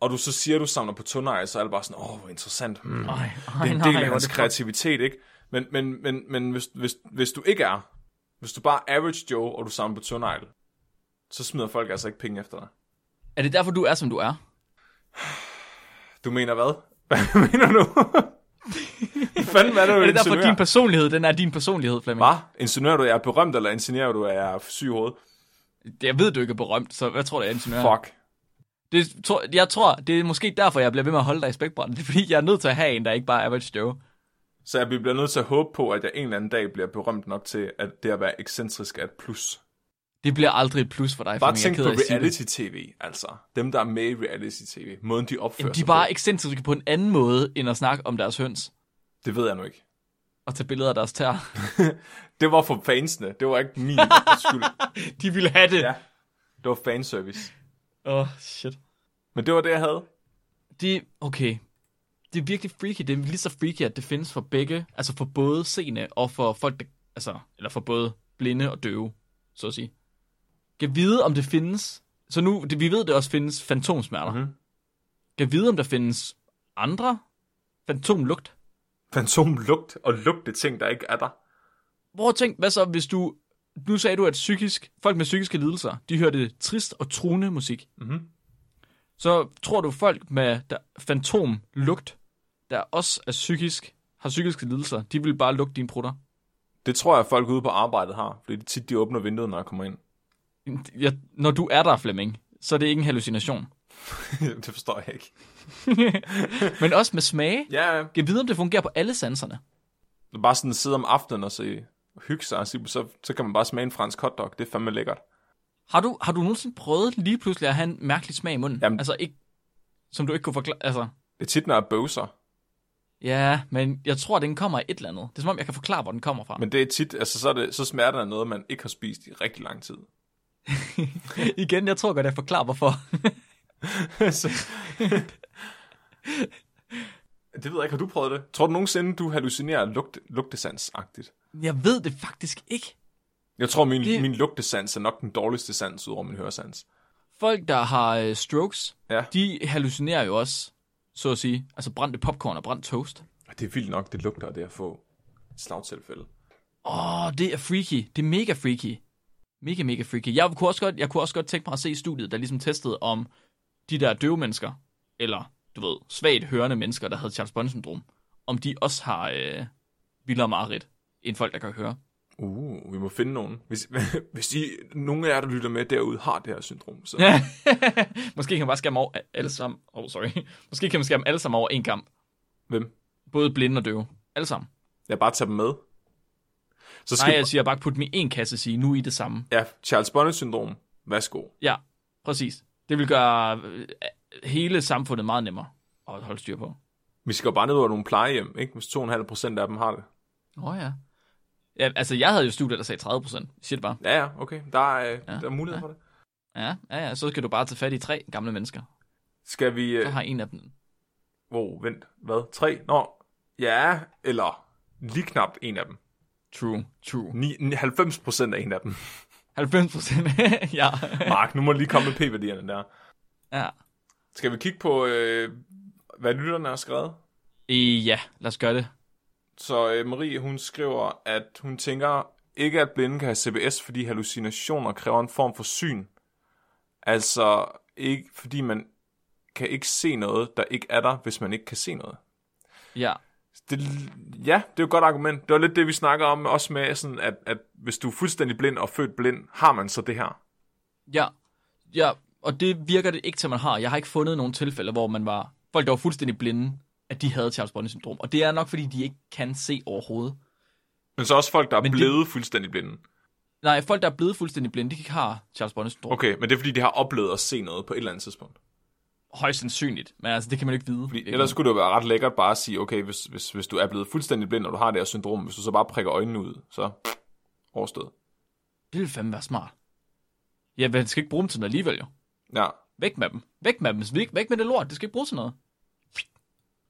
Speaker 2: og du så siger, at du samler på tundeje, så er det bare sådan, åh, oh, hvor interessant. Hmm. Det
Speaker 1: Ej,
Speaker 2: er
Speaker 1: ej,
Speaker 2: en
Speaker 1: Mm. nej,
Speaker 2: del af
Speaker 1: hvor er
Speaker 2: hans
Speaker 1: det fuck-
Speaker 2: kreativitet, ikke? Men, men, men, men hvis, hvis, hvis du ikke er, hvis du bare er average Joe, og du samler på tundeje, så smider folk altså ikke penge efter dig.
Speaker 1: Er det derfor, du er, som du er?
Speaker 2: Du mener hvad? [LAUGHS] Hvad mener du? Hvad fanden er det, du
Speaker 1: Er det derfor,
Speaker 2: insinuerer?
Speaker 1: din personlighed, den er din personlighed, Flemming?
Speaker 2: Hvad? Insinuerer du, at jeg er berømt, eller insinuerer du, at jeg er syg i hovedet?
Speaker 1: Det- Jeg ved, du ikke er berømt, så hvad tror du, jeg er
Speaker 2: Fuck.
Speaker 1: Det, tror, jeg tror, det er måske derfor, jeg bliver ved med at holde dig i spækbrættet. Det er fordi, jeg er nødt til at have en, der ikke bare er average Joe.
Speaker 2: Så jeg bliver nødt til at håbe på, at jeg en eller anden dag bliver berømt nok til, at det at være ekscentrisk er et plus.
Speaker 1: Det bliver aldrig et plus for dig,
Speaker 2: Bare
Speaker 1: Flemming.
Speaker 2: tænk
Speaker 1: Jeg er
Speaker 2: på
Speaker 1: ked af at sige det.
Speaker 2: reality-tv, altså. Dem, der er med i reality-tv. Måden, de opfører
Speaker 1: Jamen, de
Speaker 2: sig
Speaker 1: er
Speaker 2: på.
Speaker 1: bare ekscentriske på en anden måde, end at snakke om deres høns
Speaker 2: Det ved jeg nu ikke.
Speaker 1: og tage billeder af deres tær. [LAUGHS]
Speaker 2: Det var for fansene. Det var ikke min skyld.
Speaker 1: De ville have det. Åh,
Speaker 2: Ja. Det var fanservice.
Speaker 1: ja. oh, shit.
Speaker 2: Men det var det, jeg havde.
Speaker 1: Det, okay. Det er virkelig freaky. Det er lige så freaky, at det findes for begge. Altså for både seende og for folk, der, altså, eller for både blinde og døve, så at sige. Kan vide, om det findes... Så nu, det, vi ved, det også findes fantomsmerter.
Speaker 2: Mhm.
Speaker 1: Mm-hmm. Kan vide, om der findes andre Fantomlugt.
Speaker 2: Fantomlugt og lugte ting, der ikke er der.
Speaker 1: Hvor tænk, hvad så, hvis du... Nu sagde du, at psykisk, folk med psykiske lidelser, de hørte trist og truende musik.
Speaker 2: Mhm.
Speaker 1: Så tror du, folk med der, fantomlugt, der også er psykisk, har psykiske lidelser, de vil bare lugte dine prutter?
Speaker 2: Det tror jeg, folk ude på arbejdet har, fordi det tit, de åbner vinduet, når jeg kommer ind. [LAUGHS]
Speaker 1: Jeg, når du er der, Flemming, så er det ikke en hallucination.
Speaker 2: det forstår jeg ikke.
Speaker 1: Men også med smage.
Speaker 2: Ja, ja.
Speaker 1: Jeg ved, om det fungerer på alle sanserne.
Speaker 2: bare sådan sidde om aftenen og se, hygge sig, og se- så, så kan man bare smage en fransk hotdog. Det er fandme lækkert.
Speaker 1: Har du, har du nogensinde prøvet lige pludselig at have en mærkelig smag i munden?
Speaker 2: Jamen-
Speaker 1: Altså ikke, som du ikke kunne forklare. Altså,
Speaker 2: Det er tit, når jeg bøvser.
Speaker 1: ja, men jeg tror, den kommer i et eller andet. Det er som om, jeg kan forklare, hvor den kommer fra. Men...
Speaker 2: Men det er tit, altså så, er det, så smager den af noget, man ikke har spist i rigtig lang [LAUGHS] tid.
Speaker 1: [LAUGHS] Igen, jeg tror godt, jeg forklarer, hvorfor.
Speaker 2: så... det ved jeg ikke, har du prøvet det? Tror du nogensinde, du hallucinerer lugt, lugtesans-agtigt?
Speaker 1: jeg ved det faktisk ikke.
Speaker 2: Jeg tror, min,
Speaker 1: Det-
Speaker 2: det... min lugtesans er nok den dårligste sans, udover min høresans.
Speaker 1: Folk, der har øh, strokes,
Speaker 2: Ja.
Speaker 1: de hallucinerer jo også, så at sige. Altså brændte popcorn og brændt toast.
Speaker 2: Det er vildt nok, det lugter af det at få et slagtilfælde.
Speaker 1: Åh, oh, det er freaky. Det er mega freaky. Mega, mega freaky. Jeg kunne, også godt, jeg kunne også godt tænke mig at se studiet, der ligesom testede om de der døve mennesker, eller du ved, svagt hørende mennesker, der havde Charles Bond-syndrom, om de også har øh, vildere mareridt end folk, der kan høre.
Speaker 2: Uh, vi må finde nogen. Hvis, [LAUGHS] hvis I, nogen af jer, der lytter med derude, har det her syndrom, så...
Speaker 1: [LAUGHS] Måske kan man bare skæmme over alle sammen. Oh, sorry. Måske kan man skæmme alle sammen over en kamp.
Speaker 2: Hvem?
Speaker 1: Både blinde og døve. Alle sammen.
Speaker 2: Jeg bare tager dem med. Så skal
Speaker 1: Nej, jeg siger bare, put dem i en kasse og sige, nu er I det samme.
Speaker 2: Ja, Charles Bonnet-syndrom. Værsgo.
Speaker 1: Ja, præcis. Det vil gøre øh, hele samfundet meget nemmere at holde styr på.
Speaker 2: Vi skal jo bare ned over nogle plejehjem, ikke? Hvis 2,5 procent af dem har det.
Speaker 1: Åh oh, ja. ja. Altså, jeg havde jo studier, der sagde 30 procent. Shit bare.
Speaker 2: Ja, ja, okay. Der er, ja, der er mulighed ja. for det.
Speaker 1: Ja, ja, ja. Så skal du bare tage fat i tre gamle mennesker.
Speaker 2: Skal vi...
Speaker 1: Så
Speaker 2: Øh,
Speaker 1: har en af dem.
Speaker 2: wow, vent. Hvad? Tre? Nå. Ja, eller lige knapt en af dem.
Speaker 1: True, true.
Speaker 2: Ni, ni- 90 procent af
Speaker 1: [LAUGHS]
Speaker 2: en af dem.
Speaker 1: 90 procent. [LAUGHS] ja.
Speaker 2: Mark, nu må du lige komme med p-værdierne der.
Speaker 1: ja.
Speaker 2: Skal vi kigge på, øh, hvad lytterne har skrevet?
Speaker 1: Øh, ja, lad os gøre det.
Speaker 2: Så øh, Marie, hun skriver, at hun tænker ikke, at blinde kan have CBS, fordi hallucinationer kræver en form for syn. Altså, ikke, fordi man kan ikke se noget, der ikke er der, hvis man ikke kan se noget.
Speaker 1: Ja.
Speaker 2: Det, ja, det er jo et godt argument. Det var lidt det, vi snakker om, også med, sådan, at, at hvis du er fuldstændig blind og født blind, har man så det her.
Speaker 1: Ja. Ja, og det virker det ikke til, at man har. Jeg har ikke fundet nogen tilfælde, hvor man var... Folk, der var fuldstændig blinde, at de havde Charles Bonnet syndrom. Og det er nok, fordi de ikke kan se overhovedet.
Speaker 2: Men så også folk, der er
Speaker 1: Men det-
Speaker 2: blevet det... fuldstændig blinde.
Speaker 1: Nej, folk, der er blevet fuldstændig blinde, de kan ikke have Charles Bonnet syndrom.
Speaker 2: Okay, men det er fordi, de har oplevet at se noget på et eller andet tidspunkt.
Speaker 1: Højst sandsynligt, men altså, det kan man jo ikke vide.
Speaker 2: Fordi ellers kunne det jo være ret lækkert bare at sige, okay, hvis, hvis, hvis du er blevet fuldstændig blind, og du har det her syndrom, hvis du så bare prikker øjnene ud, så overstået.
Speaker 1: Det ville fandme være smart. Ja, men skal ikke bruge dem til noget alligevel, jo.
Speaker 2: Ja,
Speaker 1: Væk med dem. Væk med dem. Væk, væk med det lort. Det skal ikke bruges til noget.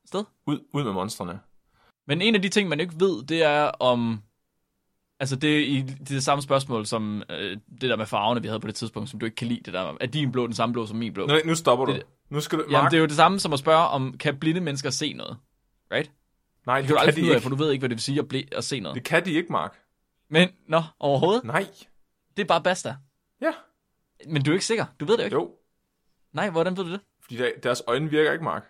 Speaker 1: Sted.
Speaker 2: ud, ud med monstrene.
Speaker 1: Men en af de ting, man ikke ved, det er om... Altså, det er i det, er det samme spørgsmål som øh, det der med farverne, vi havde på det tidspunkt, som du ikke kan lide. Det der, er din blå den samme blå som min blå?
Speaker 2: Nu, nu stopper du.
Speaker 1: Det-
Speaker 2: Nu skal du, Mark,
Speaker 1: Jamen, det er jo det samme som at spørge, om kan blinde mennesker se noget? Right?
Speaker 2: nej,
Speaker 1: Det
Speaker 2: det,
Speaker 1: kan du
Speaker 2: kan
Speaker 1: aldrig
Speaker 2: de
Speaker 1: finde ud af, for
Speaker 2: ikke.
Speaker 1: du ved ikke, hvad det vil sige at, ble, at se noget.
Speaker 2: Det kan de ikke, Mark.
Speaker 1: Men, nå, overhovedet.
Speaker 2: Nej.
Speaker 1: Det er bare basta.
Speaker 2: Ja,
Speaker 1: Men du er ikke sikker. Du ved det jo ikke.
Speaker 2: jo.
Speaker 1: Nej, hvordan ved du det?
Speaker 2: Fordi der- deres øjne virker ikke, Mark.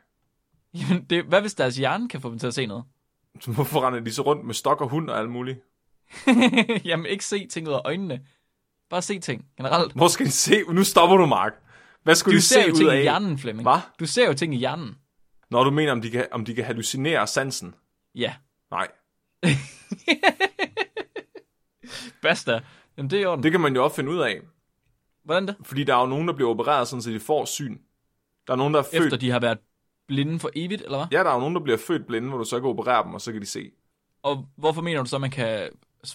Speaker 1: Jamen, det, hvad hvis deres hjerne kan få dem til at se noget? [LAUGHS]
Speaker 2: Så hvorfor render de så rundt med stok og hund og alt muligt?
Speaker 1: Jamen, ikke se ting ud af øjnene. Bare se ting, generelt.
Speaker 2: Hvor skal de se? Nu stopper du, Mark. Hvad skulle
Speaker 1: Du
Speaker 2: de
Speaker 1: ser
Speaker 2: se
Speaker 1: jo
Speaker 2: ud
Speaker 1: ting i
Speaker 2: af?
Speaker 1: hjernen, Flemming.
Speaker 2: Hvad?
Speaker 1: Du ser jo ting i hjernen.
Speaker 2: Når du mener, om de kan, om de kan hallucinere sansen?
Speaker 1: Ja,
Speaker 2: Nej.
Speaker 1: basta. Jamen, det er i orden. Det...
Speaker 2: Det kan man jo også finde ud af.
Speaker 1: Hvordan det?
Speaker 2: Fordi der er jo nogen, der bliver opereret, sådan så de får syn. Der er nogen, der er født...
Speaker 1: Efter de har været blinde for evigt, eller hvad?
Speaker 2: Ja, der er jo nogen, der bliver født blinde, hvor du så kan operere dem, og så kan de se.
Speaker 1: Og hvorfor mener du så, at man kan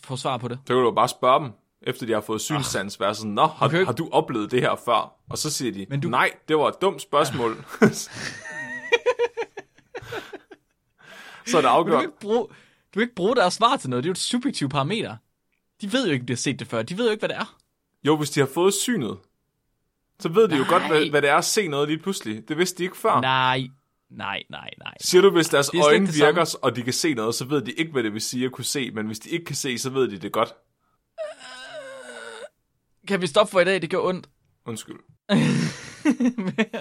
Speaker 1: få svar på det?
Speaker 2: Så kan du jo bare spørge dem, efter de har fået synssans, være sådan, Nå, har,
Speaker 1: Du kan jo ikke-
Speaker 2: har du oplevet det her før? Og så siger de,
Speaker 1: Men du-
Speaker 2: du... nej, det var et dumt spørgsmål. [LAUGHS] så er det
Speaker 1: Men Du
Speaker 2: afgjort.
Speaker 1: kan, ikke bruge, du kan ikke bruge deres svar til noget. Det er jo et subjektivt parameter. De ved jo ikke, om de har set det før. De ved jo ikke, hvad det er.
Speaker 2: Jo, hvis de har fået synet, så ved de jo
Speaker 1: Nej.
Speaker 2: Ah. godt, hvad, hvad det er at se noget lige pludselig. Det vidste de ikke før.
Speaker 1: Nej, Nej, nej, nej.
Speaker 2: Siger du, hvis deres
Speaker 1: Det er slet
Speaker 2: øjne
Speaker 1: ikke det
Speaker 2: virker, og de kan se noget, så ved de ikke, hvad det vil sige at kunne se, men hvis de ikke kan se, så ved de det godt.
Speaker 1: Kan vi stoppe for i dag? Det gjorde ondt. [LAUGHS]
Speaker 2: Undskyld.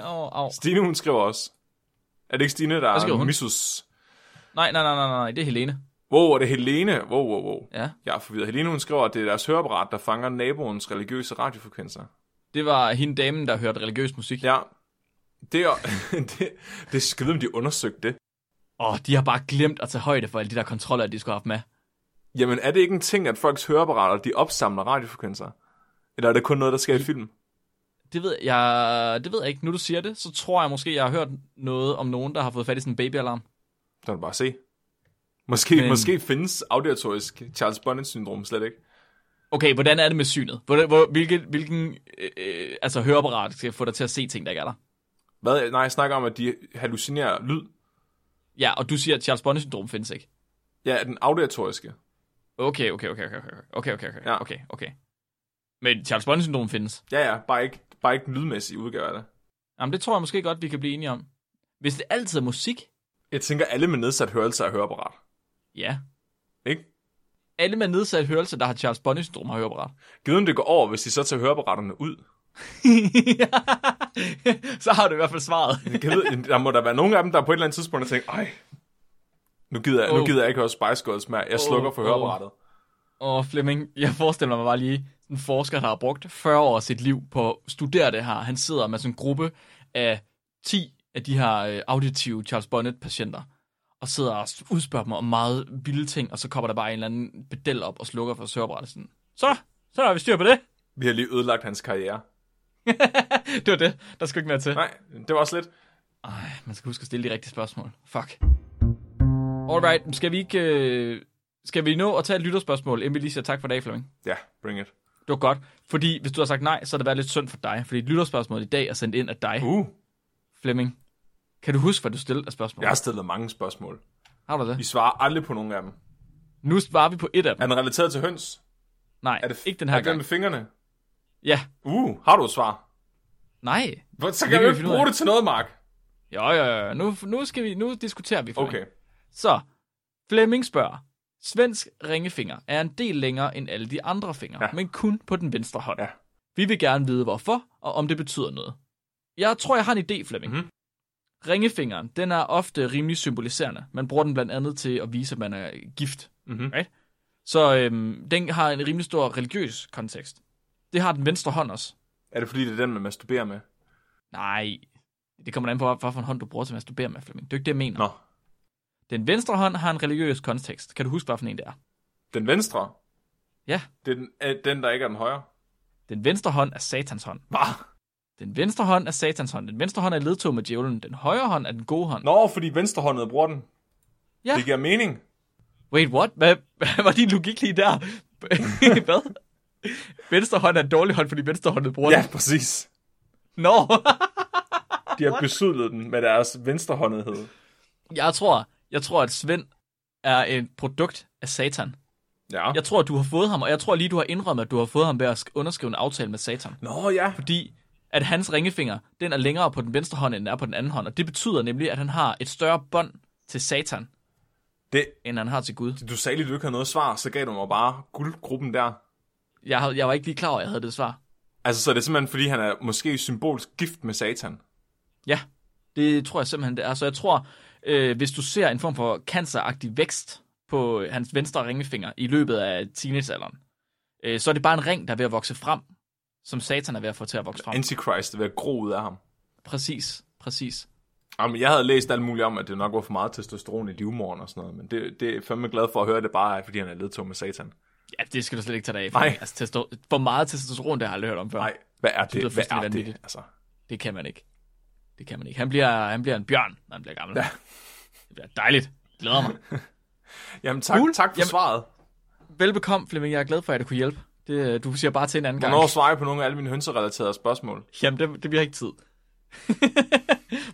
Speaker 1: oh, oh.
Speaker 2: Stine, hun skriver også. Er det ikke Stine, der
Speaker 1: Hvad skriver
Speaker 2: er
Speaker 1: hun?
Speaker 2: missus?
Speaker 1: Nej, nej, nej, nej, nej, det er Helene.
Speaker 2: Wow, er det Helene? Wow, wow, wow.
Speaker 1: Ja,
Speaker 2: Jeg er forvirret. Helene, hun skriver, at det er deres høreapparat, der fanger naboens religiøse radiofrekvenser.
Speaker 1: det var hende damen, der hørte religiøs musik. Åh,
Speaker 2: Ja. Det er, [LAUGHS] det, det er skidt, om de undersøgte det.
Speaker 1: oh, de har bare glemt at tage højde for alle de der kontroller, de skulle have haft med.
Speaker 2: Jamen, er det ikke en ting, at folks høreapparater, de opsamler radiofrekvenser? Eller er det kun noget, der
Speaker 1: Mm.
Speaker 2: sker i film?
Speaker 1: Det ved, jeg, det ved jeg ikke. Nu du siger det, så tror jeg måske, jeg har hørt noget om nogen, der har fået fat i sådan en babyalarm.
Speaker 2: Så kan du bare se. Måske,
Speaker 1: Men-
Speaker 2: Men... måske findes auditorisk Charles Bonnet-syndrom slet ikke.
Speaker 1: Okay, hvordan er det med synet? Hvordan, hvor, hvilke, hvilken øh, øh, altså, høreapparat skal få dig til at se ting, der ikke er der?
Speaker 2: Hvad? Nej, jeg snakker om, at de hallucinerer lyd.
Speaker 1: Ja, og du siger, at Charles Bonnet-syndrom findes ikke.
Speaker 2: Ja, den auditoriske.
Speaker 1: Okay, okay, okay, okay, okay, okay, okay, okay,
Speaker 2: Ja.
Speaker 1: okay, okay. Men Charles Bonnet-syndrom findes.
Speaker 2: Ja, ja, bare ikke, bare ikke den lydmæssige udgave af det.
Speaker 1: Jamen, det tror jeg måske godt, vi kan blive enige om. Hvis det altid er musik,
Speaker 2: Jeg tænker, alle med nedsat hørelse er høreapparat.
Speaker 1: ja.
Speaker 2: Ikke?
Speaker 1: Alle med nedsat hørelse, der har Charles Bonnet-syndrom, har høreapparat. [LAUGHS]
Speaker 2: Givet om det går over, hvis de så tager høreapparaterne ud.
Speaker 1: Så har du i hvert fald svaret.
Speaker 2: Jeg
Speaker 1: [LAUGHS]
Speaker 2: ved, der må der være nogen af dem, der på et eller andet tidspunkt har tænkt, ej, nu gider jeg,
Speaker 1: Oh.
Speaker 2: nu gider jeg ikke høre Spice Girls mere. Jeg slukker for
Speaker 1: Oh,
Speaker 2: høreapparatet.
Speaker 1: Åh, Flemming, jeg forestiller mig bare lige, en forsker, der har brugt 40 år af sit liv på at studere det her, han sidder med sådan en gruppe af 10 af de her øh, auditive Charles Bonnet-patienter, og sidder og udspørger dem om meget vilde ting, og så kommer der bare en eller anden bedel op og slukker for sørbrættelsen. Så, så har vi styr på det.
Speaker 2: Vi har lige ødelagt hans karriere.
Speaker 1: [LAUGHS] det var det. Der skulle ikke mere til.
Speaker 2: Nej, det var også lidt.
Speaker 1: Ej, man skal huske at stille de rigtige spørgsmål. Fuck. Alright, skal vi ikke... Øh, skal vi nå at tage et lytterspørgsmål, inden vi lige siger tak for i dag, Flemming?
Speaker 2: Ja, bring it.
Speaker 1: Det var godt, fordi hvis du har sagt nej, så har det været lidt synd for dig, fordi et lytterspørgsmål i dag er sendt ind af dig,
Speaker 2: Uh,
Speaker 1: Flemming. Kan du huske, hvad du stillede af spørgsmål?
Speaker 2: jeg har stillet mange spørgsmål.
Speaker 1: Har du
Speaker 2: I
Speaker 1: det?
Speaker 2: svarer aldrig på nogen af dem.
Speaker 1: Nu svarer vi på et af dem.
Speaker 2: Er den relateret til høns?
Speaker 1: Nej,
Speaker 2: Er det
Speaker 1: ikke den her
Speaker 2: er den
Speaker 1: gang.
Speaker 2: med fingrene?
Speaker 1: Ja,
Speaker 2: Uh, har du et svar?
Speaker 1: nej.
Speaker 2: Hvor- Så
Speaker 1: Det kan
Speaker 2: kan du
Speaker 1: vi
Speaker 2: ikke
Speaker 1: finde ud
Speaker 2: bruge
Speaker 1: af.
Speaker 2: det til noget, Mark.
Speaker 1: Jo, jo, jo. Nu, nu, skal vi, nu diskuterer vi. Flemming.
Speaker 2: Okay.
Speaker 1: Så, Flemming spørger. Svensk ringefinger er en del længere end alle de andre fingre,
Speaker 2: Ja.
Speaker 1: men kun på den venstre hånd.
Speaker 2: Ja.
Speaker 1: Vi vil gerne vide, hvorfor og om det betyder noget. Jeg tror, jeg har en idé, Flemming.
Speaker 2: Mhm.
Speaker 1: Ringefingeren, den er ofte rimelig symboliserende. Man bruger den blandt andet til at vise, at man er gift.
Speaker 2: Mhm.
Speaker 1: Right? Så øhm, den har en rimelig stor religiøs kontekst. Det har den venstre hånd også.
Speaker 2: Er det fordi, det er den, man masturberer med?
Speaker 1: Nej, det kommer an på, hvad for en hånd du bruger til at masturbere med, Flemming. Det er jo ikke det, jeg mener.
Speaker 2: Nå.
Speaker 1: Den venstre hånd har en religiøs kontekst. Kan du huske, hvad for en det er?
Speaker 2: Den venstre?
Speaker 1: Ja.
Speaker 2: Det er den, er den der ikke er den højre?
Speaker 1: Den venstre hånd er satans hånd.
Speaker 2: Hvad?
Speaker 1: Den venstre hånd er satans hånd. Den venstre hånd er ledtog med djævlen. Den højre hånd er den gode hånd.
Speaker 2: Nå, fordi venstrehåndet bruger den.
Speaker 1: Ja.
Speaker 2: Det giver mening.
Speaker 1: Wait, what? Hvad, hvad var din logik lige
Speaker 2: [LAUGHS]
Speaker 1: der? hvad? Venstre hånd er en dårlig hånd, fordi venstre håndet bruger
Speaker 2: [LAUGHS] Ja,
Speaker 1: den.
Speaker 2: præcis.
Speaker 1: Nå,
Speaker 2: De har besudlet den med deres venstrehåndethed.
Speaker 1: jeg tror, jeg tror, at Svend er et produkt af satan.
Speaker 2: Ja.
Speaker 1: Jeg tror, at du har fået ham, og jeg tror lige, du har indrømmet, at du har fået ham ved at sk- underskrive en aftale med satan.
Speaker 2: Nå ja.
Speaker 1: Fordi at hans ringefinger, den er længere på den venstre hånd, end den er på den anden hånd. Og det betyder nemlig, at han har et større bånd til satan,
Speaker 2: Det,
Speaker 1: end han har til Gud.
Speaker 2: du sagde lige, du ikke havde noget svar, så gav du mig bare guldgruppen der.
Speaker 1: Jeg, havde- jeg var ikke lige klar over, at jeg havde det svar.
Speaker 2: Altså, så er det simpelthen, fordi han er måske symbolsk gift med satan.
Speaker 1: Ja, det tror jeg simpelthen, det er. Så jeg tror, øh, hvis du ser en form for canceragtig vækst på hans venstre ringefinger i løbet af teenagealderen, øh, så er det bare en ring, der er ved at vokse frem, som satan er ved at få til at vokse frem.
Speaker 2: Antichrist er ved at gro ud af ham.
Speaker 1: Præcis, præcis.
Speaker 2: Jamen, jeg havde læst alt muligt om, at det nok var for meget testosteron i livmoderen og sådan noget, men det, det er fandme glad for at høre, at det bare er, fordi han er ledtog med satan.
Speaker 1: Ja, det skal du slet ikke tage dig af.
Speaker 2: Nej.
Speaker 1: Altså, testo- for meget testosteron, det har jeg aldrig hørt om før.
Speaker 2: Nej, hvad er
Speaker 1: lyder
Speaker 2: det? Hvad er
Speaker 1: fuldstændig
Speaker 2: det?
Speaker 1: vanvittigt.
Speaker 2: Altså,
Speaker 1: Det kan man ikke. Det kan man ikke. Han bliver, han bliver en bjørn, når han bliver gammel.
Speaker 2: Ja.
Speaker 1: Det bliver dejligt. Glæder
Speaker 2: [LAUGHS]
Speaker 1: mig.
Speaker 2: jamen, tak,
Speaker 1: Cool.
Speaker 2: tak for
Speaker 1: Jamen-
Speaker 2: svaret. Flemming. Jeg er glad for, at jeg kunne hjælpe. Det, øh, du siger bare til en anden gang. Hvornår svarer jeg på nogle af alle mine hønserelaterede spørgsmål?
Speaker 1: Jamen, det, det vi har ikke tid. [LAUGHS]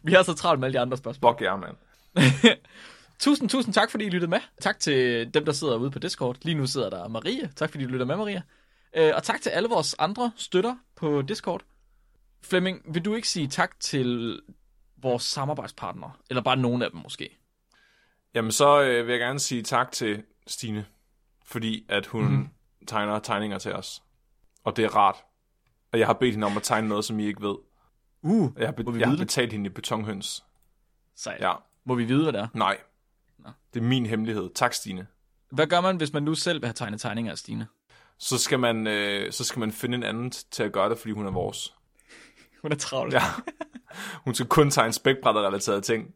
Speaker 1: vi har så travlt med alle de andre spørgsmål.
Speaker 2: Fuck jer, mand.
Speaker 1: Tusind, tusind tak, fordi I lyttede med. Tak til dem, der sidder ude på Discord. Lige nu sidder der Maria. Tak, fordi du lytter med, Maria. Øh, Og tak til alle vores andre støtter på Discord. Flemming, vil du ikke sige tak til vores samarbejdspartnere. Eller bare nogen af dem måske.
Speaker 2: Jamen, så øh, vil jeg gerne sige tak til Stine, fordi at hun
Speaker 1: Mhm.
Speaker 2: mm. tegner tegninger til os. Og det er rart. Og jeg har bedt hende om at tegne noget, som I ikke ved.
Speaker 1: Uh,
Speaker 2: Jeg har,
Speaker 1: må vi
Speaker 2: be- jeg har
Speaker 1: vide det?
Speaker 2: betalt hende i betonhøns.
Speaker 1: Sejt.
Speaker 2: Ja,
Speaker 1: Må vi vide, hvad det er?
Speaker 2: nej. Det er min hemmelighed. Tak, Stine.
Speaker 1: Hvad gør man, hvis man nu selv vil have tegnet tegninger af Stine?
Speaker 2: Så skal man, øh, så skal man finde en anden t- til at gøre det, fordi hun er vores.
Speaker 1: Hun er travl.
Speaker 2: Ja. [LAUGHS] Hun skal kun tegne spækbrætterrelaterede ting.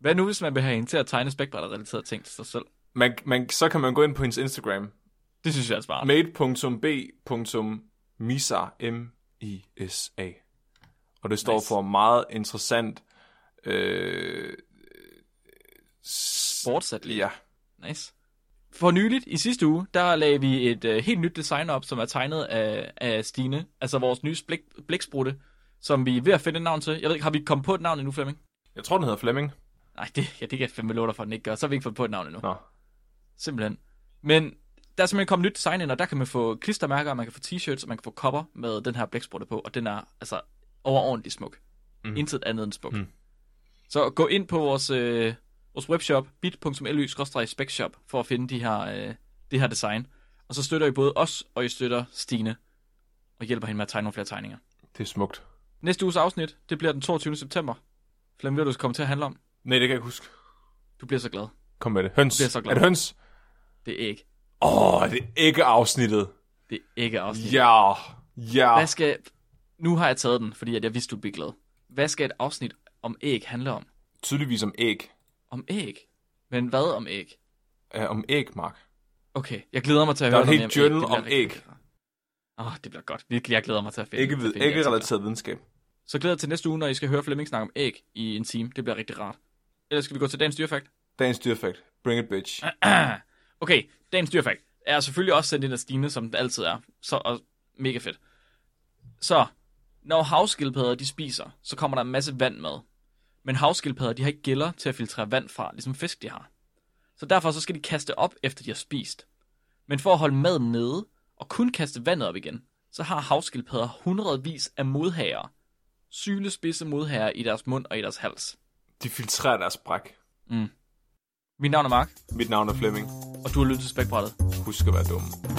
Speaker 1: Hvad nu, hvis man vil have hende til at tegne spækbrætter-relaterede ting til sig selv?
Speaker 2: Man, man, så kan man gå ind på hendes Instagram.
Speaker 1: Det synes jeg er smart.
Speaker 2: made.b.misa, M-I-S-A. Og det står nice.
Speaker 1: Nice.
Speaker 2: for meget interessant... Øh, s-
Speaker 1: Sportsatlet.
Speaker 2: ja,
Speaker 1: Nice. For nyligt, i sidste uge, der lagde vi et øh, helt nyt design op, som er tegnet af, af Stine. Altså vores nye blik, bliksprutte, som vi er ved at finde et navn til. Jeg ved ikke, har vi kommet på et navn endnu, Flemming?
Speaker 2: jeg tror, den hedder Flemming.
Speaker 1: Nej, det, ja, det kan jeg fandme love dig for, at den ikke gør. Så har vi ikke fået på et navn endnu.
Speaker 2: Nå.
Speaker 1: Simpelthen. Men der er simpelthen kommet nyt design ind, og der kan man få klistermærker, og man kan få t-shirts, og man kan få kopper med den her blæksprutte på, og den er altså overordentlig smuk. Mm. Intet andet end smuk. Mm. Så gå ind på vores, øh, vores webshop, bit.ly-specshop, for at finde de her, øh, det her design. Og så støtter I både os, og I støtter Stine, og hjælper hende med at tegne nogle flere tegninger.
Speaker 2: Det er smukt.
Speaker 1: Næste uges afsnit, det bliver den 22. september. Flemming, ved du, hvad det kommer til at handle om?
Speaker 2: Nej, det kan jeg ikke huske.
Speaker 1: Du bliver så glad.
Speaker 2: Kom med det. Høns.
Speaker 1: Jeg bliver så glad.
Speaker 2: Er det høns?
Speaker 1: Det er ikke.
Speaker 2: Åh, oh, det er ikke afsnittet.
Speaker 1: Det er ikke afsnit.
Speaker 2: Ja, ja.
Speaker 1: Hvad skal... Nu har jeg taget den, fordi at jeg vidste, du blev glad. Hvad skal et afsnit om æg handle om?
Speaker 2: Tydeligvis om æg.
Speaker 1: Om æg? Men hvad om æg?
Speaker 2: Uh, om æg, Mark.
Speaker 1: Okay, jeg glæder mig til at
Speaker 2: Der er
Speaker 1: høre
Speaker 2: et
Speaker 1: noget
Speaker 2: helt
Speaker 1: mere
Speaker 2: journal
Speaker 1: Det bliver
Speaker 2: om
Speaker 1: rigtig
Speaker 2: æg.
Speaker 1: fedt. Åh, oh, det bliver godt. Virkelig, jeg glæder mig til at finde
Speaker 2: Ægge,
Speaker 1: til at finde de
Speaker 2: ægge
Speaker 1: artikler.
Speaker 2: relateret videnskab.
Speaker 1: Så glæder jeg til næste uge, når I skal høre Flemming snakke om æg i en time. Det bliver rigtig rart. Ellers skal vi gå til dagens dyrefakt.
Speaker 2: Dagens dyrfakt. Bring it, bitch.
Speaker 1: Okay, dagens dyrefakt er selvfølgelig også sendt ind af Stine, som det altid er. Så og mega fedt. Så, når havskildpadder de spiser, så kommer der en masse vand med. Men havskildpadder de har ikke gælder til at filtrere vand fra, ligesom fisk de har. Så derfor så skal de kaste op, efter de har spist. Men for at holde maden nede, og kun kaste vandet op igen, så har havskildpadder hundredvis af modhager. Sylespidse modhager i deres mund og i deres hals.
Speaker 2: De filtrerer deres bræk.
Speaker 1: Mit navn er Mark,
Speaker 2: Mit navn er Flemming.
Speaker 1: og du har lyttet til Spækbrættet.
Speaker 2: Husk at være dumme.